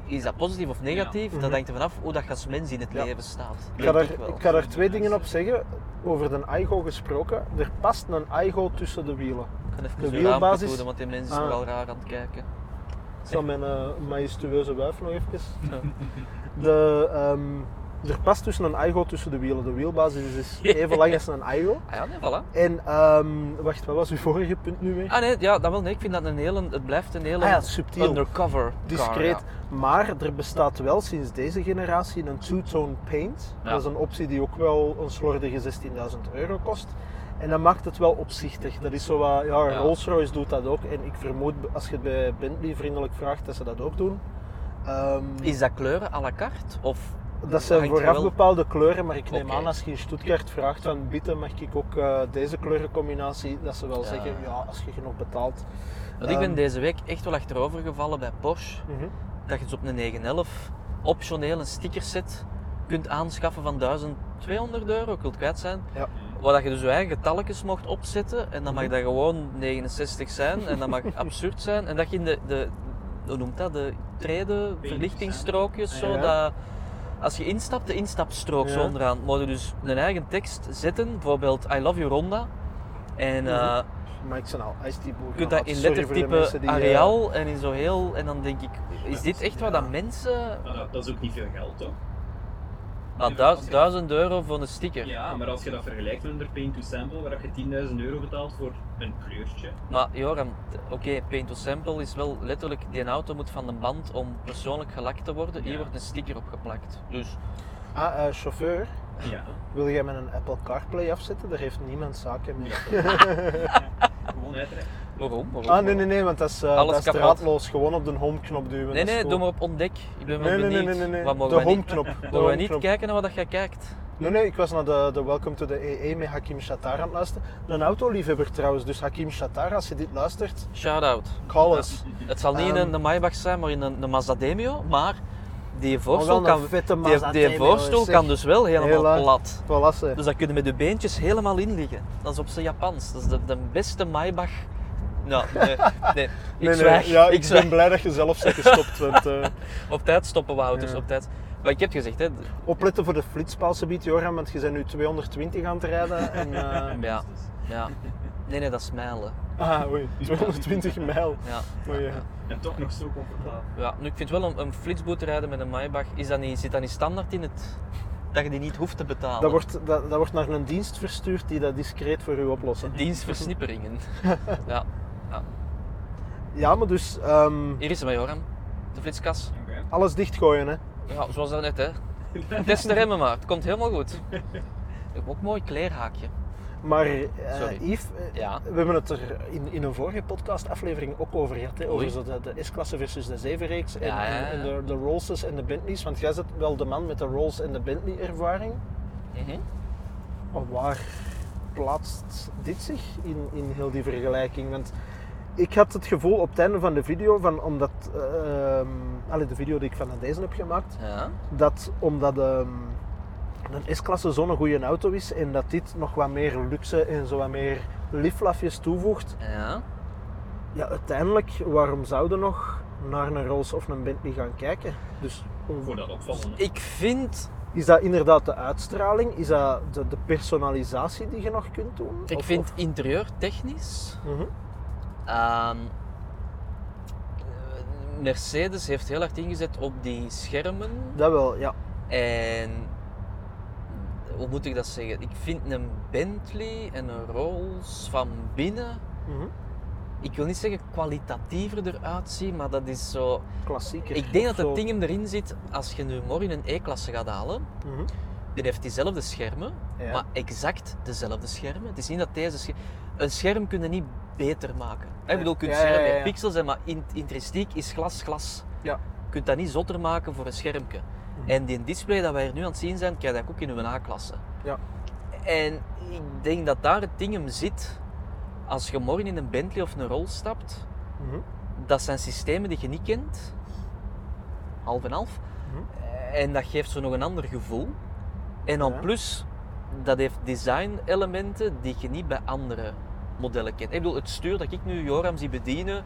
B: is dat positief of negatief?
A: Ja. Mhm.
B: Dat hangt ervan af hoe dat je als mens in het
A: Ja.
B: leven staat.
A: Ik ga,
B: Denk ik
A: daar,
B: wel.
A: ik ga daar twee dingen op zeggen. Over de Aigo gesproken. Er past een Aigo tussen de wielen.
B: Ik ga even
A: de
B: de
A: wielbasis-
B: wielbasis... doen, want die mensen
A: Ah.
B: zijn nogal raar aan het kijken.
A: Ik zal mijn eh, majestueuze wuif nog even. De, ehm, er past tussen een Aigo tussen de wielen. De wielbasis is even lang als een Aigo.
B: Ah ja, nee, voilà.
A: En ehm, wacht, wat was uw vorige punt nu weer?
B: Ah nee, ja, dat wel. Nee, ik vind dat een hele, het blijft een hele
A: Ah ja, subtiel.
B: undercover car,
A: Discreet.
B: ja.
A: Maar er bestaat wel sinds deze generatie een two-tone paint.
B: Ja.
A: Dat is een optie die ook wel een slordige 16.000 euro kost. En dat maakt het wel opzichtig. Dat is zo wat, ja,
B: Ja.
A: Rolls-Royce doet dat ook. En ik vermoed, als je het bij Bentley vriendelijk vraagt, dat ze dat ook doen. Ehm,
B: Is dat kleuren à la carte? Of
A: dat zijn
B: hangt er
A: vooraf
B: wel-
A: bepaalde kleuren, maar ik neem
B: Oké.
A: aan als je in Stuttgart vraagt van Bitte, mag ik ook eh, deze kleurencombinatie, dat ze wel
B: Ja.
A: zeggen, ja, als je genoeg betaalt.
B: Want ik ben
A: Ehm.
B: deze week echt wel achterover gevallen bij Porsche.
A: Mhm.
B: Dat je dus op een 911 optioneel een stickerset kunt aanschaffen van 1200 euro, ik wil het kwijt zijn.
A: Ja.
B: Waar dat je dus je eigen getalletjes mocht opzetten en dan mag
A: Mhm.
B: dat gewoon 69 zijn en dat mag absurd zijn. En dat je in de, de hoe noemt dat, de treden,
C: Paintjes,
B: verlichtingstrookjes,
C: hè?
B: zo,
A: Ja.
B: dat, als je instapt, de instapstrook zo
A: Ja.
B: onderaan, moet je dus een eigen tekst zetten, bijvoorbeeld I love you Ronda. En eh,
A: Mhm. Maar ik zijn al ijstieboer.
B: je kunt dat in lettertype
A: eh,
B: areaal en in zo heel. En dan denk ik, is dit echt wat dat mensen.
C: Maar dat, dat is ook niet veel geld, toch?
B: Ah, duizend, duizend euro voor een sticker.
C: Ja, maar als je dat vergelijkt met een paint to sample, waar je 10.000 euro betaalt voor een kleurtje.
B: Maar Joram, t- oké, paint to sample is wel letterlijk. Die auto moet van de band om persoonlijk gelakt te worden. Hier
C: Ja.
B: wordt een sticker opgeplakt. Dus
A: Ah, eh, chauffeur.
C: Ja.
A: Wil jij met een Apple CarPlay afzetten? Daar heeft niemand zaken mee.
C: Gewoon uitrekken.
B: waarom? waarom?
A: Ah, nee, nee, nee, want dat is, eh,
B: Alles
A: dat is
B: kapot.
A: draadloos. Gewoon op de homeknop duwen.
B: Nee,
A: dat is
B: nee,
A: goed.
B: doe maar op ontdek. Ik ben wel
A: Nee, nee,
B: benieuwd.
A: nee, nee, nee, nee.
B: Wat mogen
A: De
B: wij niet,
A: homeknop. De
B: mogen wij niet
A: homeknop.
B: kijken naar wat dat jij kijkt?
A: Nee, nee, ik was naar de, de Welcome to the EE met Hakim Shatar aan het luisteren. Een autoliefhebber trouwens, dus Hakim Shatar, als je dit luistert,
B: Shout out.
A: call us.
B: Het zal niet in
A: Ehm.
B: een, een Maybach zijn, maar in een, een Mazda Demio. Maar die
A: wel
B: voorstoel
A: een Ah,
B: kan,
A: vette
B: die-
A: Mazda
B: die,
A: Demio,
B: voorstoel
A: zeg.
B: kan dus wel helemaal
A: Hela.
B: plat.
A: Voilà, ze.
B: Dus dat kunnen met de beentjes helemaal in liggen. Dat is op zijn Japans. Dat is de, de beste Maybach. Nou, nee, nee. Ik
A: Nee, nee,
B: zwijg.
A: ja,
B: ik
A: ik
B: zwijg.
A: ben blij dat je zelf bent gestopt. Want, eh,
B: Op tijd stoppen we auto's,
A: Ja.
B: op tijd. Maar ik heb het gezegd, hè.
A: opletten voor de flitspaalse biedt, Joram, want je bent nu 220 aan het rijden. En, eh,
B: Ja,
C: Dus-
B: ja. Nee, nee, dat is mijlen.
A: Ah, oei, 220 mijl.
B: Ja.
A: Oei, ja.
C: En toch nog zo comfortabel.
B: Ja, nu, ik vind wel een, een flitsboete rijden met een Maybach, is dat niet, zit dat niet standaard in het... Dat je die niet hoeft te betalen.
A: Dat wordt, dat, dat wordt naar een dienst verstuurd die dat discreet voor u oplossen.
B: Dienstversnipperingen. ja.
A: Ja, maar dus ehm,
B: Hier is hem, hè, Joram. De flitskas.
C: Oké.
A: alles dichtgooien, hè.
B: Ja, zoals dat net, hè. Test de remmen maar. Het komt helemaal goed. Ik heb ook een mooi kleerhaakje.
A: Maar eh,
B: Sorry.
A: Yves, eh,
B: Ja.
A: we hebben het er in, in een vorige podcastaflevering ook over gehad, hè, over
B: Oei.
A: zo de, de S-klasse versus de 7-reeks en,
B: Ja, ja, ja.
A: en de, de Rollses en de Bentleys, want jij bent wel de man met de Rolls en de Bentley ervaring.
B: Mhm.
A: Maar waar plaatst dit zich in, in heel die vergelijking? Want ik had het gevoel op het einde van de video, van, omdat eh, ehm, allee, de video die ik van deze heb gemaakt,
B: Ja.
A: dat omdat ehm, een S-klasse zo'n goede auto is en dat dit nog wat meer luxe en zo wat meer liflafjes toevoegt,
B: Ja.
A: ja, uiteindelijk, waarom zouden nog naar een Rolls of een Bentley gaan kijken? Dus
C: Voor dat opvallende.
B: Ik vind...
A: is dat inderdaad de uitstraling? Is dat de, de personalisatie die je nog kunt doen?
B: Ik
A: Of-
B: vind
A: of-
B: interieurtechnisch...
A: Mhm.
B: ehm, Mercedes heeft heel hard ingezet op die schermen.
A: Dat wel, ja.
B: En hoe moet ik dat zeggen? Ik vind een Bentley en een Rolls van binnen.
A: Mhm.
B: Ik wil niet zeggen kwalitatiever eruit zien, maar dat is zo.
A: Klassieker.
B: Ik denk dat
A: Of zo.
B: het ding hem erin zit als je nu morgen een E-klasse gaat halen.
A: Mhm.
B: Die heeft diezelfde schermen,
A: Ja.
B: maar exact dezelfde schermen. Het is niet dat deze scherm. Een scherm kun je niet beter maken. Hè, Ik bedoel, je kunt
A: Ja, ja,
B: schermen
A: ja,
B: met
A: ja.
B: pixels zijn, maar in, intrinsiek is glas glas.
A: Ja. Mhm.
B: Je kunt dat niet zotter maken voor een schermpje. En die display dat wij hier nu aan het zien zijn, krijg ik ook in uw A-klasse.
A: Ja.
B: En ik denk dat daar het ding hem zit. Als je morgen in een Bentley of een Rolls stapt,
A: Mhm.
B: dat zijn systemen die je niet kent. Half en half.
A: Mhm.
B: En dat geeft zo nog een ander gevoel. En dan
A: Ja.
B: plus, dat heeft design elementen die je niet bij andere modellen kent. Ik bedoel, het stuur dat ik nu Joram zie bedienen,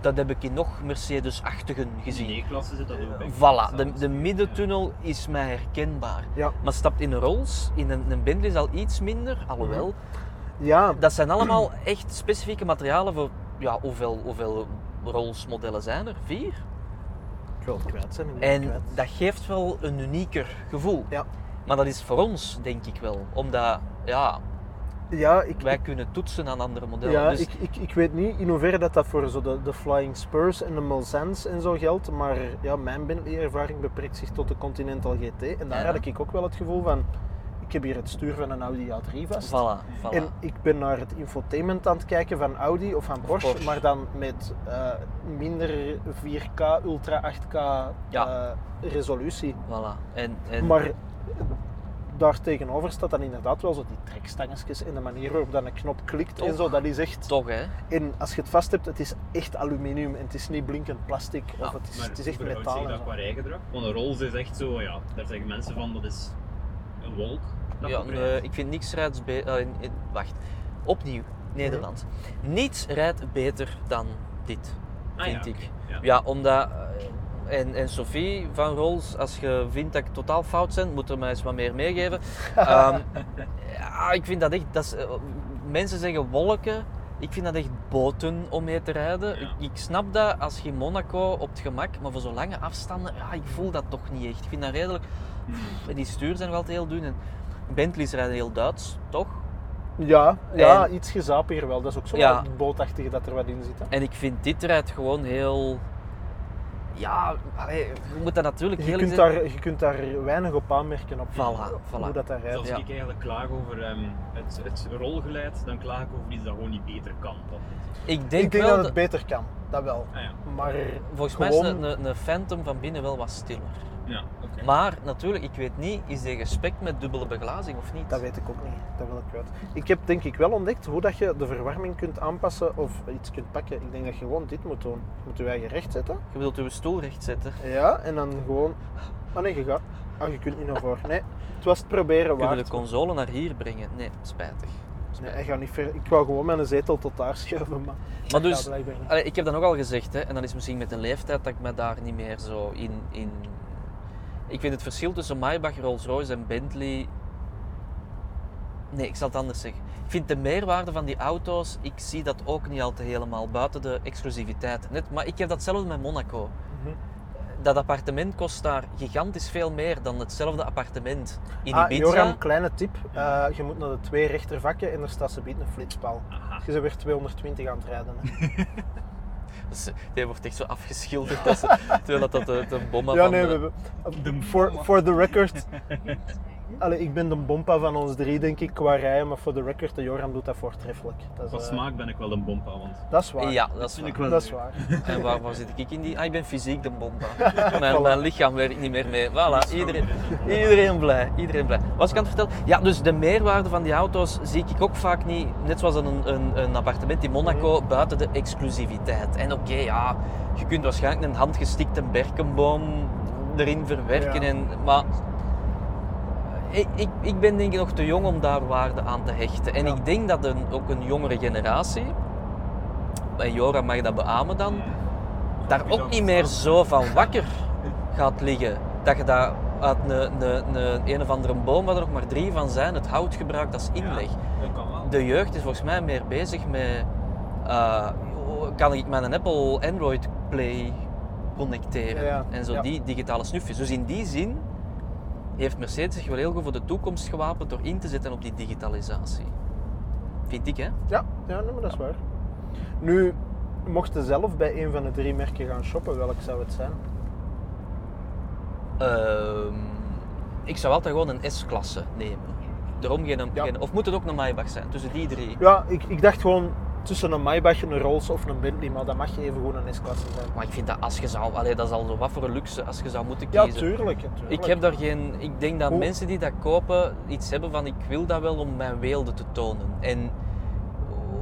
B: dat heb ik in nog Mercedes-achtigen gezien.
C: In de E-klasse zit dat ook bij.
B: Voilà, de, de middentunnel is mij herkenbaar.
A: Ja.
B: Maar stapt in een Rolls, in een, een Bentley is al iets minder, alhoewel.
A: Ja,
B: Dat zijn allemaal echt specifieke materialen voor, ja, hoeveel, hoeveel Rolls modellen zijn er? Vier?
A: ik wil het kwijt zijn. ik ben het
B: En
A: kwijt.
B: dat geeft wel een unieker gevoel.
A: Ja.
B: Maar dat is voor ons, denk ik wel. Omdat, ja,
A: ja, ik,
B: wij kunnen toetsen aan andere modellen.
A: ja
B: dus
A: ik, ik, ik weet niet in hoeverre dat, dat voor zo de, de Flying Spurs en de Mulsanne en zo geldt, maar ja, mijn Bentley-ervaring beperkt zich tot de Continental GT. En daar
B: Ja.
A: had ik ook wel het gevoel van, ik heb hier het stuur van een Audi A3 vast.
B: voilà, voilà.
A: En ik ben naar het infotainment aan het kijken van Audi of van Porsche,
B: Porsche.
A: maar dan met eh, minder 4K, Ultra 8K
B: Ja.
A: eh, resolutie.
B: voilà. En, en
A: Maar daar tegenover staat dan inderdaad wel zo die trekstangetjes en de manier waarop dan een knop klikt en
B: Toch.
A: zo. Dat is echt...
B: toch, hè.
A: En als je het vast hebt, het is echt aluminium en het is niet blinkend plastic of het is,
C: Maar
A: het is echt
C: überhaupt zeg
A: metaal. en
C: je dat
A: zo.
C: qua rijgedrag? Want een Rolls is echt zo, ja, daar zeggen mensen van dat is een wolk. Dat
B: Ja,
C: je
B: eh,
C: rijdt.
B: ik vind niks rijdt beter. wacht, opnieuw, Nederland. Niets rijdt beter dan dit,
C: Ah,
B: vind
C: ja,
B: ik.
C: oké,
B: Ja,
C: ja.
B: omdat. eh, En, en Sophie van Rolls, als je vindt dat ik totaal fout ben, moet er mij eens wat meer meegeven. Ehm, ja, ik vind dat echt. Dat is, eh, mensen zeggen wolken. Ik vind dat echt boten om mee te rijden.
C: Ja.
B: Ik, ik snap dat als je in Monaco op het gemak, maar voor zo lange afstanden, ja, ik voel dat toch niet echt. Ik vind dat redelijk.
A: Hmm.
B: En die stuur zijn wel altijd heel dun. En Bentleys rijden heel Duits, toch?
A: Ja, ja
B: En-
A: iets gezapiger wel. Dat is ook zo
B: Ja.
A: bootachtig dat er wat in zit. hè.
B: En ik vind dit rijdt gewoon heel. Ja, allee, je moet dat natuurlijk
A: Je
B: heel
A: kunt, daar, je kunt daar weinig op aanmerken op
B: Voilà,
A: hoe
B: voilà.
A: dat daar rijdt.
C: Dus als
B: Ja.
C: ik eigenlijk klaag over ehm, het, het rolgeleid, dan klaag ik over iets dat gewoon niet beter kan. dan dit.
B: Ik denk,
A: ik denk
B: wel
A: dat het beter kan, dat wel.
C: Ah ja,
A: Maar
B: Volgens mij is
A: gewoon-
B: een, een, een Phantom van binnen wel wat stiller.
C: ja oké.
B: Maar natuurlijk, ik weet niet, is die gespekt met dubbele beglazing of niet?
A: Dat weet ik ook niet, dat wil ik kwijt. Ik heb denk ik wel ontdekt hoe dat je de verwarming kunt aanpassen of iets kunt pakken. Ik denk dat je gewoon dit moet doen. Je moet je eigen recht zetten.
B: Je wilt uw stoel recht zetten.
A: Ja, en dan gewoon... Ah nee, je gaat... Ah, je kunt niet naar voren. Nee, het was het proberen
B: Kunnen we
A: waard.
B: de console naar hier brengen? Nee, spijtig.
A: Nee, hij gaat niet ver. Ik wou gewoon mijn zetel tot daar schuiven, maar...
B: Maar
A: dat
B: dus,
A: gaat blijkbaar niet.
B: Allee, ik heb dat nogal gezegd, hè, en dat is misschien met de leeftijd dat ik me daar niet meer zo in. in... Ik vind het verschil tussen Maybach, Rolls-Royce en Bentley. Nee, ik zal het anders zeggen. Ik vind de meerwaarde van die auto's, ik zie dat ook niet altijd helemaal buiten de exclusiviteit. Net, maar ik heb datzelfde met Monaco.
A: Mhm.
B: Dat appartement kost daar gigantisch veel meer dan hetzelfde appartement in
A: Ah,
B: Ibiza.
A: Joram, kleine tip. Eh, je moet naar de twee rechtervakken en er staat ze biedt een flitspaal.
C: Aha.
A: Je bent weer 220 aan het rijden. hè.
B: Dus, eh, die wordt echt zo afgeschilderd, dat ze- terwijl dat de, de bommen
A: Ja,
B: van
A: nee,
B: de-
A: we hebben... For, for the record... Allee, ik ben de bompa van ons drie, denk ik, qua rijden. Maar voor de record, de Joram doet dat voortreffelijk. Dat is,
C: Qua
A: eh,
C: smaak ben ik wel een bompa, want
A: Dat is waar.
B: Ja, dat is
C: vind
B: waar.
C: ik wel
A: Dat is
C: leuk.
A: waar.
B: En waar, waar zit ik in die? Ah, ik ben fysiek de bomba. Mijn, mijn lichaam werkt niet meer mee. Voilà, iedereen, iedereen blij. Iedereen blij. Was ik aan het vertellen? Ja, dus de meerwaarde van die auto's zie ik ook vaak niet. Net zoals een, een, een appartement in Monaco,
A: Mhm.
B: buiten de exclusiviteit. En oké, ja, je kunt waarschijnlijk een handgestikte berkenboom erin verwerken.
A: Ja.
B: En, maar ik, ik, ik ben denk ik nog te jong om daar waarde aan te hechten. En
A: Ja.
B: ik denk dat een, ook een jongere generatie, en Jora mag dat beamen dan, daar ook niet meer zo van wakker gaat liggen. Dat je dat uit een, een, een, een of andere boom, waar er nog maar drie van zijn, het hout gebruikt als inleg.
C: Ja, dat kan wel.
B: De jeugd is volgens mij meer bezig met... eh, kan ik mijn Apple Android Play connecteren?
A: Ja, ja.
B: En zo
A: Ja.
B: die digitale snufjes. Dus in die zin heeft Mercedes zich wel heel goed voor de toekomst gewapend door in te zetten op die digitalisatie. Vind ik, hè?
A: Ja, ja nee, maar dat is waar. Nu, mocht je zelf bij een van de drie merken gaan shoppen, welk zou het zijn?
B: Ehm, ik zou altijd gewoon een S-klasse nemen. Daarom geen,
A: Ja.
B: geen- of moet het ook een Maybach zijn? Tussen die drie.
A: Ja, ik, ik dacht gewoon tussen een Maybach, een Rolls of een Bentley, maar dat mag even gewoon een S-klasse zijn.
B: Maar ik vind dat als je zou, allee, dat is al zo wat voor luxe als je zou moeten
A: Ja,
B: kiezen.
A: tuurlijk. ja, tuurlijk.
B: Ik heb daar geen. Ik denk dat
A: Hoe-
B: mensen die dat kopen iets hebben van ik wil dat wel om mijn weelde te tonen. En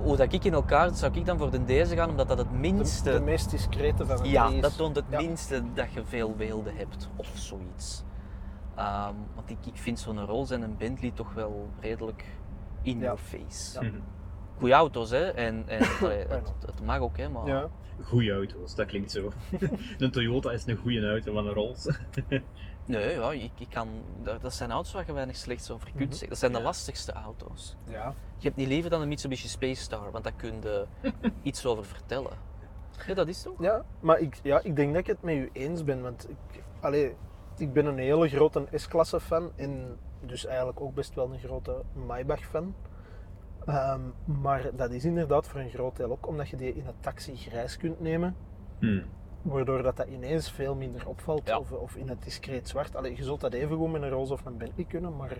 B: hoe dat ik in elkaar zit, zou ik dan voor de deze gaan, omdat dat het
A: de,
B: minste.
A: de meest discrete van het
B: ja,
A: drie is.
B: dat toont het
A: Ja.
B: minste dat je veel weelde hebt of zoiets. Ehm, want ik, ik vind zo'n Rolls en een Bentley toch wel redelijk in
A: Ja.
B: your face.
A: Ja.
B: Goeie auto's, hè? En, en allee,
A: Ja.
B: het, het mag ook, hè? Maar
A: Ja.
C: Goeie auto's, dat klinkt zo. een Toyota is een goede auto van een Rolls.
B: nee, ja, ik, ik kan, dat dat zijn auto's waar je weinig slechts over
A: Mhm.
B: kunt zeggen. Dat zijn de
C: Ja.
B: lastigste auto's.
A: ja.
B: Je hebt niet liever dan een Mitsubishi Space Star, want daar kun je iets over vertellen. Ja, dat is toch?
A: Ja, maar ik, ja, ik denk dat ik het met u eens ben. Want ik, allee, ik ben een hele grote S-klasse fan. En dus eigenlijk ook best wel een grote Maybach fan. Ehm, maar dat is inderdaad voor een groot deel ook omdat je die in een taxi grijs kunt nemen.
C: Hm.
A: Waardoor dat, dat ineens veel minder opvalt.
B: Ja.
A: Of, of in het discreet zwart. Allee, je zult dat even goed met een roze of een Bentley kunnen. Maar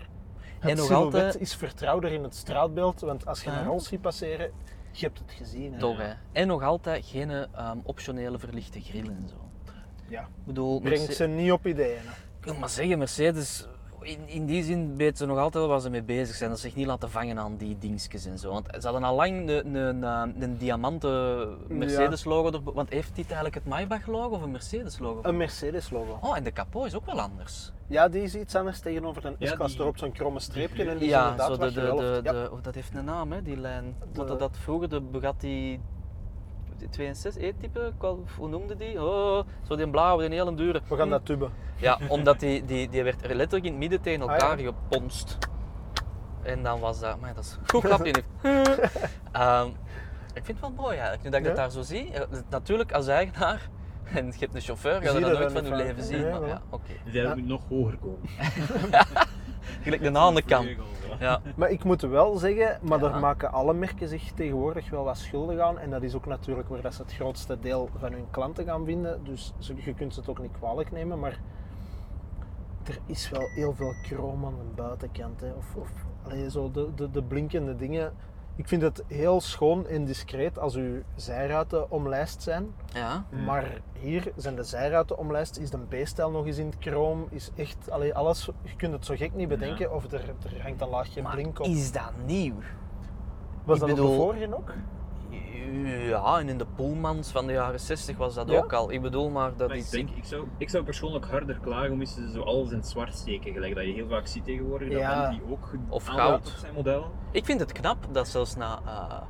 A: het
B: En nog
A: silhouet
B: altijd-
A: is vertrouwder in het straatbeeld. Want als je
B: Ja.
A: een roze ziet passeren, je hebt het gezien. hè.
B: Toch, hè? En nog altijd geen ehm, optionele verlichte grill en zo.
A: Ja.
B: Ik bedoel,
A: Brengt
B: Merce-
A: ze niet op ideeën. hè.
B: Ik wil maar zeggen, Mercedes, in, in die zin weet ze nog altijd wel waar ze mee bezig zijn. Dat ze zich niet laten vangen aan die dingetjes en zo. Want ze hadden al lang een, een, een, een diamanten Mercedes-logo. erbo- Want heeft dit eigenlijk het Maybach-logo of een Mercedes-logo?
A: Een Mercedes-logo.
B: Oh, en de capot is ook wel anders.
A: Ja, die is iets anders tegenover een
C: Ja,
A: S-klasse
C: die-
A: erop, zo'n kromme streepje. En die is
B: Ja,
A: inderdaad
B: zo de,
A: wat
B: de,
A: je wel
B: de,
A: hoeft. Ja.
B: de- oh, dat heeft een naam, hè, die lijn.
A: De-
B: Dat, dat, dat vroeger de Bugatti 62E-type, hoe noemde die? Oh, zo die blauwe, die hele dure.
A: We gaan dat tuben.
B: Ja, omdat die, die, die werd er letterlijk in het midden tegen
A: Ah,
B: elkaar
A: ja.
B: geponst. En dan was dat, maar dat is goed grapje. heeft. Ehm, ik vind het wel mooi eigenlijk, nu dat ik dat
A: Ja.
B: daar zo zie. eh, Natuurlijk als eigenaar, en je hebt een chauffeur, ga
A: Zie
B: je dat
A: je
B: nooit
A: dat
B: van
A: niet
B: je
A: vaak.
B: leven zien.
A: Nee,
B: maar
A: voilà.
B: ja, oké.
C: Die
A: Ja.
C: moet nog hoger komen.
B: Gelijk de aan de kant. Ja.
A: Maar ik moet wel zeggen, maar
B: Ja.
A: daar maken alle merken zich tegenwoordig wel wat schuldig aan. En dat is ook natuurlijk waar dat ze het grootste deel van hun klanten gaan vinden. Dus ze- je kunt ze het ook niet kwalijk nemen, maar er is wel heel veel kroom aan de buitenkant. Hè. Of, of allee, zo de, de, de blinkende dingen. Ik vind het heel schoon en discreet als uw zijruiten omlijst zijn.
B: ja.
C: Hmm.
A: Maar hier zijn de zijruiten omlijst, is de B-stijl nog eens in het chroom, is echt allee, alles. Je kunt het zo gek niet bedenken of er, er hangt een laagje
B: Maar
A: blink op.
B: is dat nieuw?
A: Was dat
B: ik
A: op
B: bedoel-
A: de vorige ook?
B: Ja, en in de Pullmans van de jaren 60 was dat
A: Ja?
B: ook al. Ik bedoel maar dat
C: Maar
B: is...
C: ik, denk, ik, zou, ik zou persoonlijk harder klagen moesten ze zo alles in het zwart steken, gelijk dat je heel vaak ziet tegenwoordig. Dat
A: Ja.
C: die ook
B: Of
C: aanhaalt
B: goud.
C: op zijn modellen.
B: Ik vind het knap dat zelfs na eh,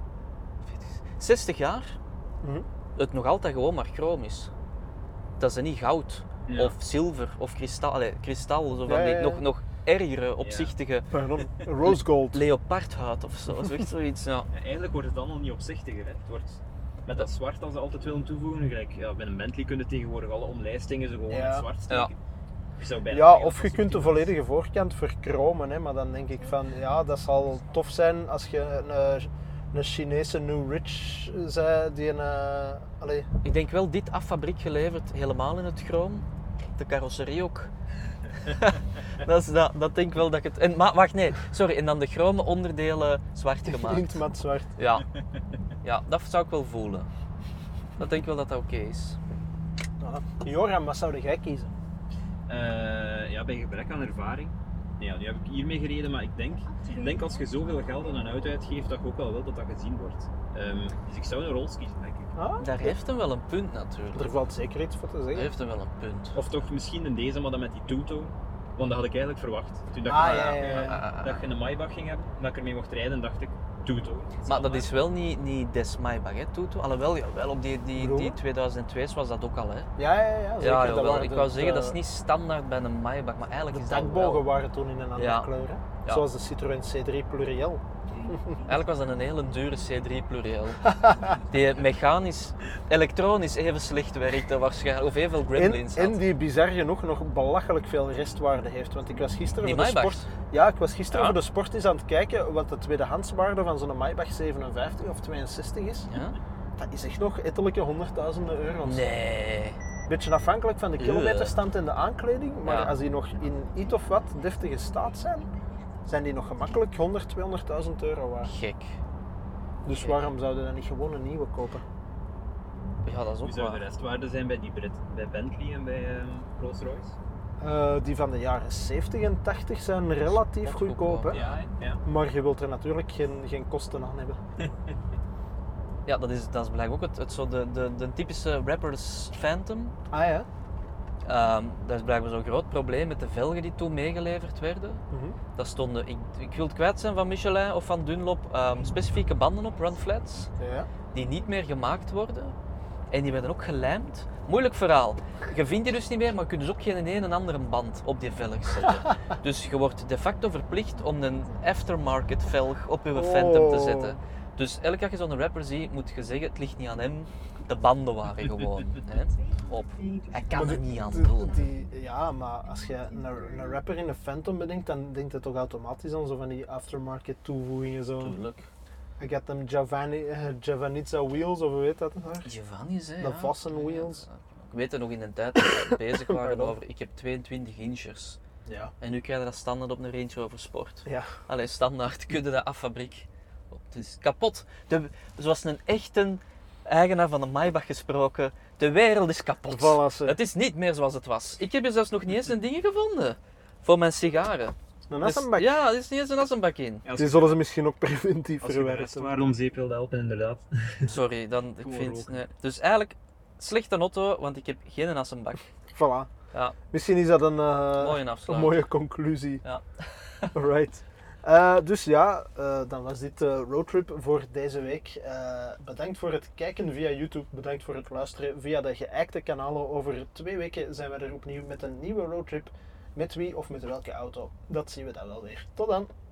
B: 60 jaar
A: Mhm.
B: het nog altijd gewoon maar chroom is. Dat ze niet goud
C: Ja.
B: of zilver of kristal, allee, kristal zo van
A: Ja,
B: die
A: ja, ja.
B: nog, nog ergere, opzichtige
A: Pardon, rose gold.
B: leopardhuid of zo. Zo echt zoiets. Ja.
C: Ja, Eigenlijk wordt het dan al niet opzichtiger. Hè. Het wordt met dat zwart dat ze altijd willen toevoegen. Gelijk, ja, bij een Bentley kunnen tegenwoordig alle omlijstingen ze gewoon
A: Ja.
C: in het zwart steken. Je zou bijna
A: Ja,
C: zeggen
A: of
C: dat
A: je
C: ze
A: kunt de
C: optimaal
A: volledige voorkant verkromen, hè, maar dan denk ik van ja, dat zal tof zijn als je een, eh, een Chinese New Rich zei die een. eh, allee,
B: Ik denk wel dit af fabriek geleverd, helemaal in het chroom. De carrosserie ook. dat, is, dat, dat denk ik wel dat ik het. En, maar wacht, nee, sorry. En dan de chrome onderdelen zwart
A: in het
B: gemaakt.
A: mat zwart.
B: Ja. ja, dat zou ik wel voelen. Dat denk ik wel dat dat oké is. Ah.
A: Voilà. Joram, wat zou jij kiezen?
C: Eh, ja, bij gebrek aan ervaring. Nee, ja, nu heb ik hiermee gereden, maar ik denk, ik denk als je zoveel geld aan een auto uitgeeft, dat je ook wel wil dat dat gezien wordt. Ehm, dus ik zou een Rolls kiezen, denk ik.
A: Ah,
B: Daar heeft hem wel een punt natuurlijk.
A: er valt zeker iets voor te
B: Daar
A: zeggen.
B: heeft hem wel een punt.
C: Of toch misschien een deze, maar dan met die Tuto. Want dat had ik eigenlijk verwacht. Toen dat,
A: Ah,
C: ik,
A: ja,
C: eh,
A: ja, ja.
B: Ah, ah,
C: dat je een Maybach ging hebben, dat ik ermee mocht rijden, dacht ik Dus Tuto.
B: Maar dat is wel niet, niet des Maybach, hè, Toto. Alhoewel, ja, wel op die, die,
A: Waarom?
B: die 2002 was dat ook al, hè.
A: Ja, ja, ja. Zeker,
B: Ja,
A: dat
B: jawel.
A: waren
B: Ik
A: de-
B: wou zeggen,
A: de-
B: dat is niet standaard bij een Maybach, maar eigenlijk
A: De
B: is dat wel...
A: dakbogen waren toen in een andere
B: Ja.
A: kleur. Hè?
B: Ja.
A: Zoals de Citroën C3 Pluriel.
B: Eigenlijk was dat een hele dure C3 pluriel. Die mechanisch, elektronisch even slecht werkte waarschijnlijk. Of evenveel
A: En,
B: gremlins had.
A: en die bizar genoeg nog belachelijk veel restwaarde heeft. Want ik was gisteren
B: Die
A: voor de
B: Maybachs?
A: sport. Ja, ik was gisteren
B: Ja.
A: voor de sport eens aan het kijken wat de tweedehandswaarde van zo'n Maybach 57 of 62 is.
B: Ja?
A: Dat is echt nog ettelijke honderdduizenden euro's.
B: Nee.
A: Beetje afhankelijk van de
B: Ja.
A: kilometerstand en de aankleding. Maar
B: Ja.
A: als die nog in iets of wat deftige staat zijn, zijn die nog gemakkelijk 100, 200.000 euro waard.
B: Gek.
A: Dus waarom zouden we dan niet gewoon een nieuwe kopen?
B: Ja, dat is
C: Hoe
B: ook
C: zou de
B: waar.
C: restwaarde zijn bij die Brit, bij Bentley en bij ehm, Rolls-Royce?
A: Eh, die van de jaren 70 en 80 zijn relatief
B: Spot goedkoop,
A: goedkoop, hè?
B: Ja.
C: Ja, hè? ja.
A: maar je wilt er natuurlijk geen, geen kosten aan hebben.
B: Ja, dat is, dat is blijkbaar ook het, het zo de, de, de typische rappers Phantom.
A: Ah ja?
B: Ehm dat is blijkbaar zo'n groot probleem met de velgen die toen meegeleverd werden.
A: Mhm.
B: Daar stonden, ik, ik wil het kwijt zijn van Michelin of van Dunlop, ehm, specifieke banden op, run flats,
A: ja.
B: die niet meer gemaakt worden. En die werden ook gelijmd. Moeilijk verhaal. Je vindt die dus niet meer, maar je kunt dus ook geen ene andere band op die velg zetten. dus je wordt de facto verplicht om een aftermarket velg op je Phantom te
A: Oh.
B: zetten. Dus elke keer als je zo'n rapper ziet, moet je zeggen, het ligt niet aan hem. De banden waren gewoon. hè. Op. Hij kan
A: Maar
B: er
A: die-
B: niet aan
A: die-
B: doen.
A: die- ja, maar als je een, een rapper in een Phantom bedenkt, dan denkt het toch automatisch aan zo van die aftermarket toevoegingen. Zo.
B: Tuurlijk.
A: Ik had hem Giovanni, eh, Giovanizza Wheels of hoe heet dat? daar?
B: Giovanni zei.
A: De
B: ja.
A: Vossen
B: Ja,
A: wheels.
B: ja. Ik weet het nog in een tijd dat we bezig waren
A: Pardon.
B: over. Ik heb 22 inchers.
A: Ja.
B: En nu krijg je dat standaard op een Range Rover Sport.
A: Ja.
B: Allee, standaard kun je dat af fabriek. Op. Het is kapot. De, zoals een echte eigenaar van de Maybach gesproken. De wereld is kapot.
A: Voilà, ze.
B: Het is niet meer zoals het was. Ik heb hier zelfs nog niet eens een ding gevonden. Voor mijn sigaren.
A: Een
B: Dus-
A: assenbak.
B: Ja, er is niet eens een assenbak in.
C: Als
A: Die
C: je,
A: zullen ze misschien ook preventief
C: als je bij
A: verwerken.
C: restwaarde om zeep wilde helpen, inderdaad.
B: Sorry, dan ik
C: Gewoon
B: vind.
C: roken.
B: Nee. Dus eigenlijk slechte auto, want ik heb geen assenbak.
A: Voilà.
B: Ja.
A: Misschien is dat een, eh,
B: Mooi
A: een
B: afsluiting.
A: mooie conclusie.
B: Ja.
A: right. Eh, dus ja, eh, dan was dit de roadtrip voor deze week. Eh, bedankt voor het kijken via YouTube, bedankt voor het luisteren via de geëikte kanalen. Over twee weken zijn we er opnieuw met een nieuwe roadtrip. Met wie of met welke auto, dat zien we dan wel weer. Tot dan!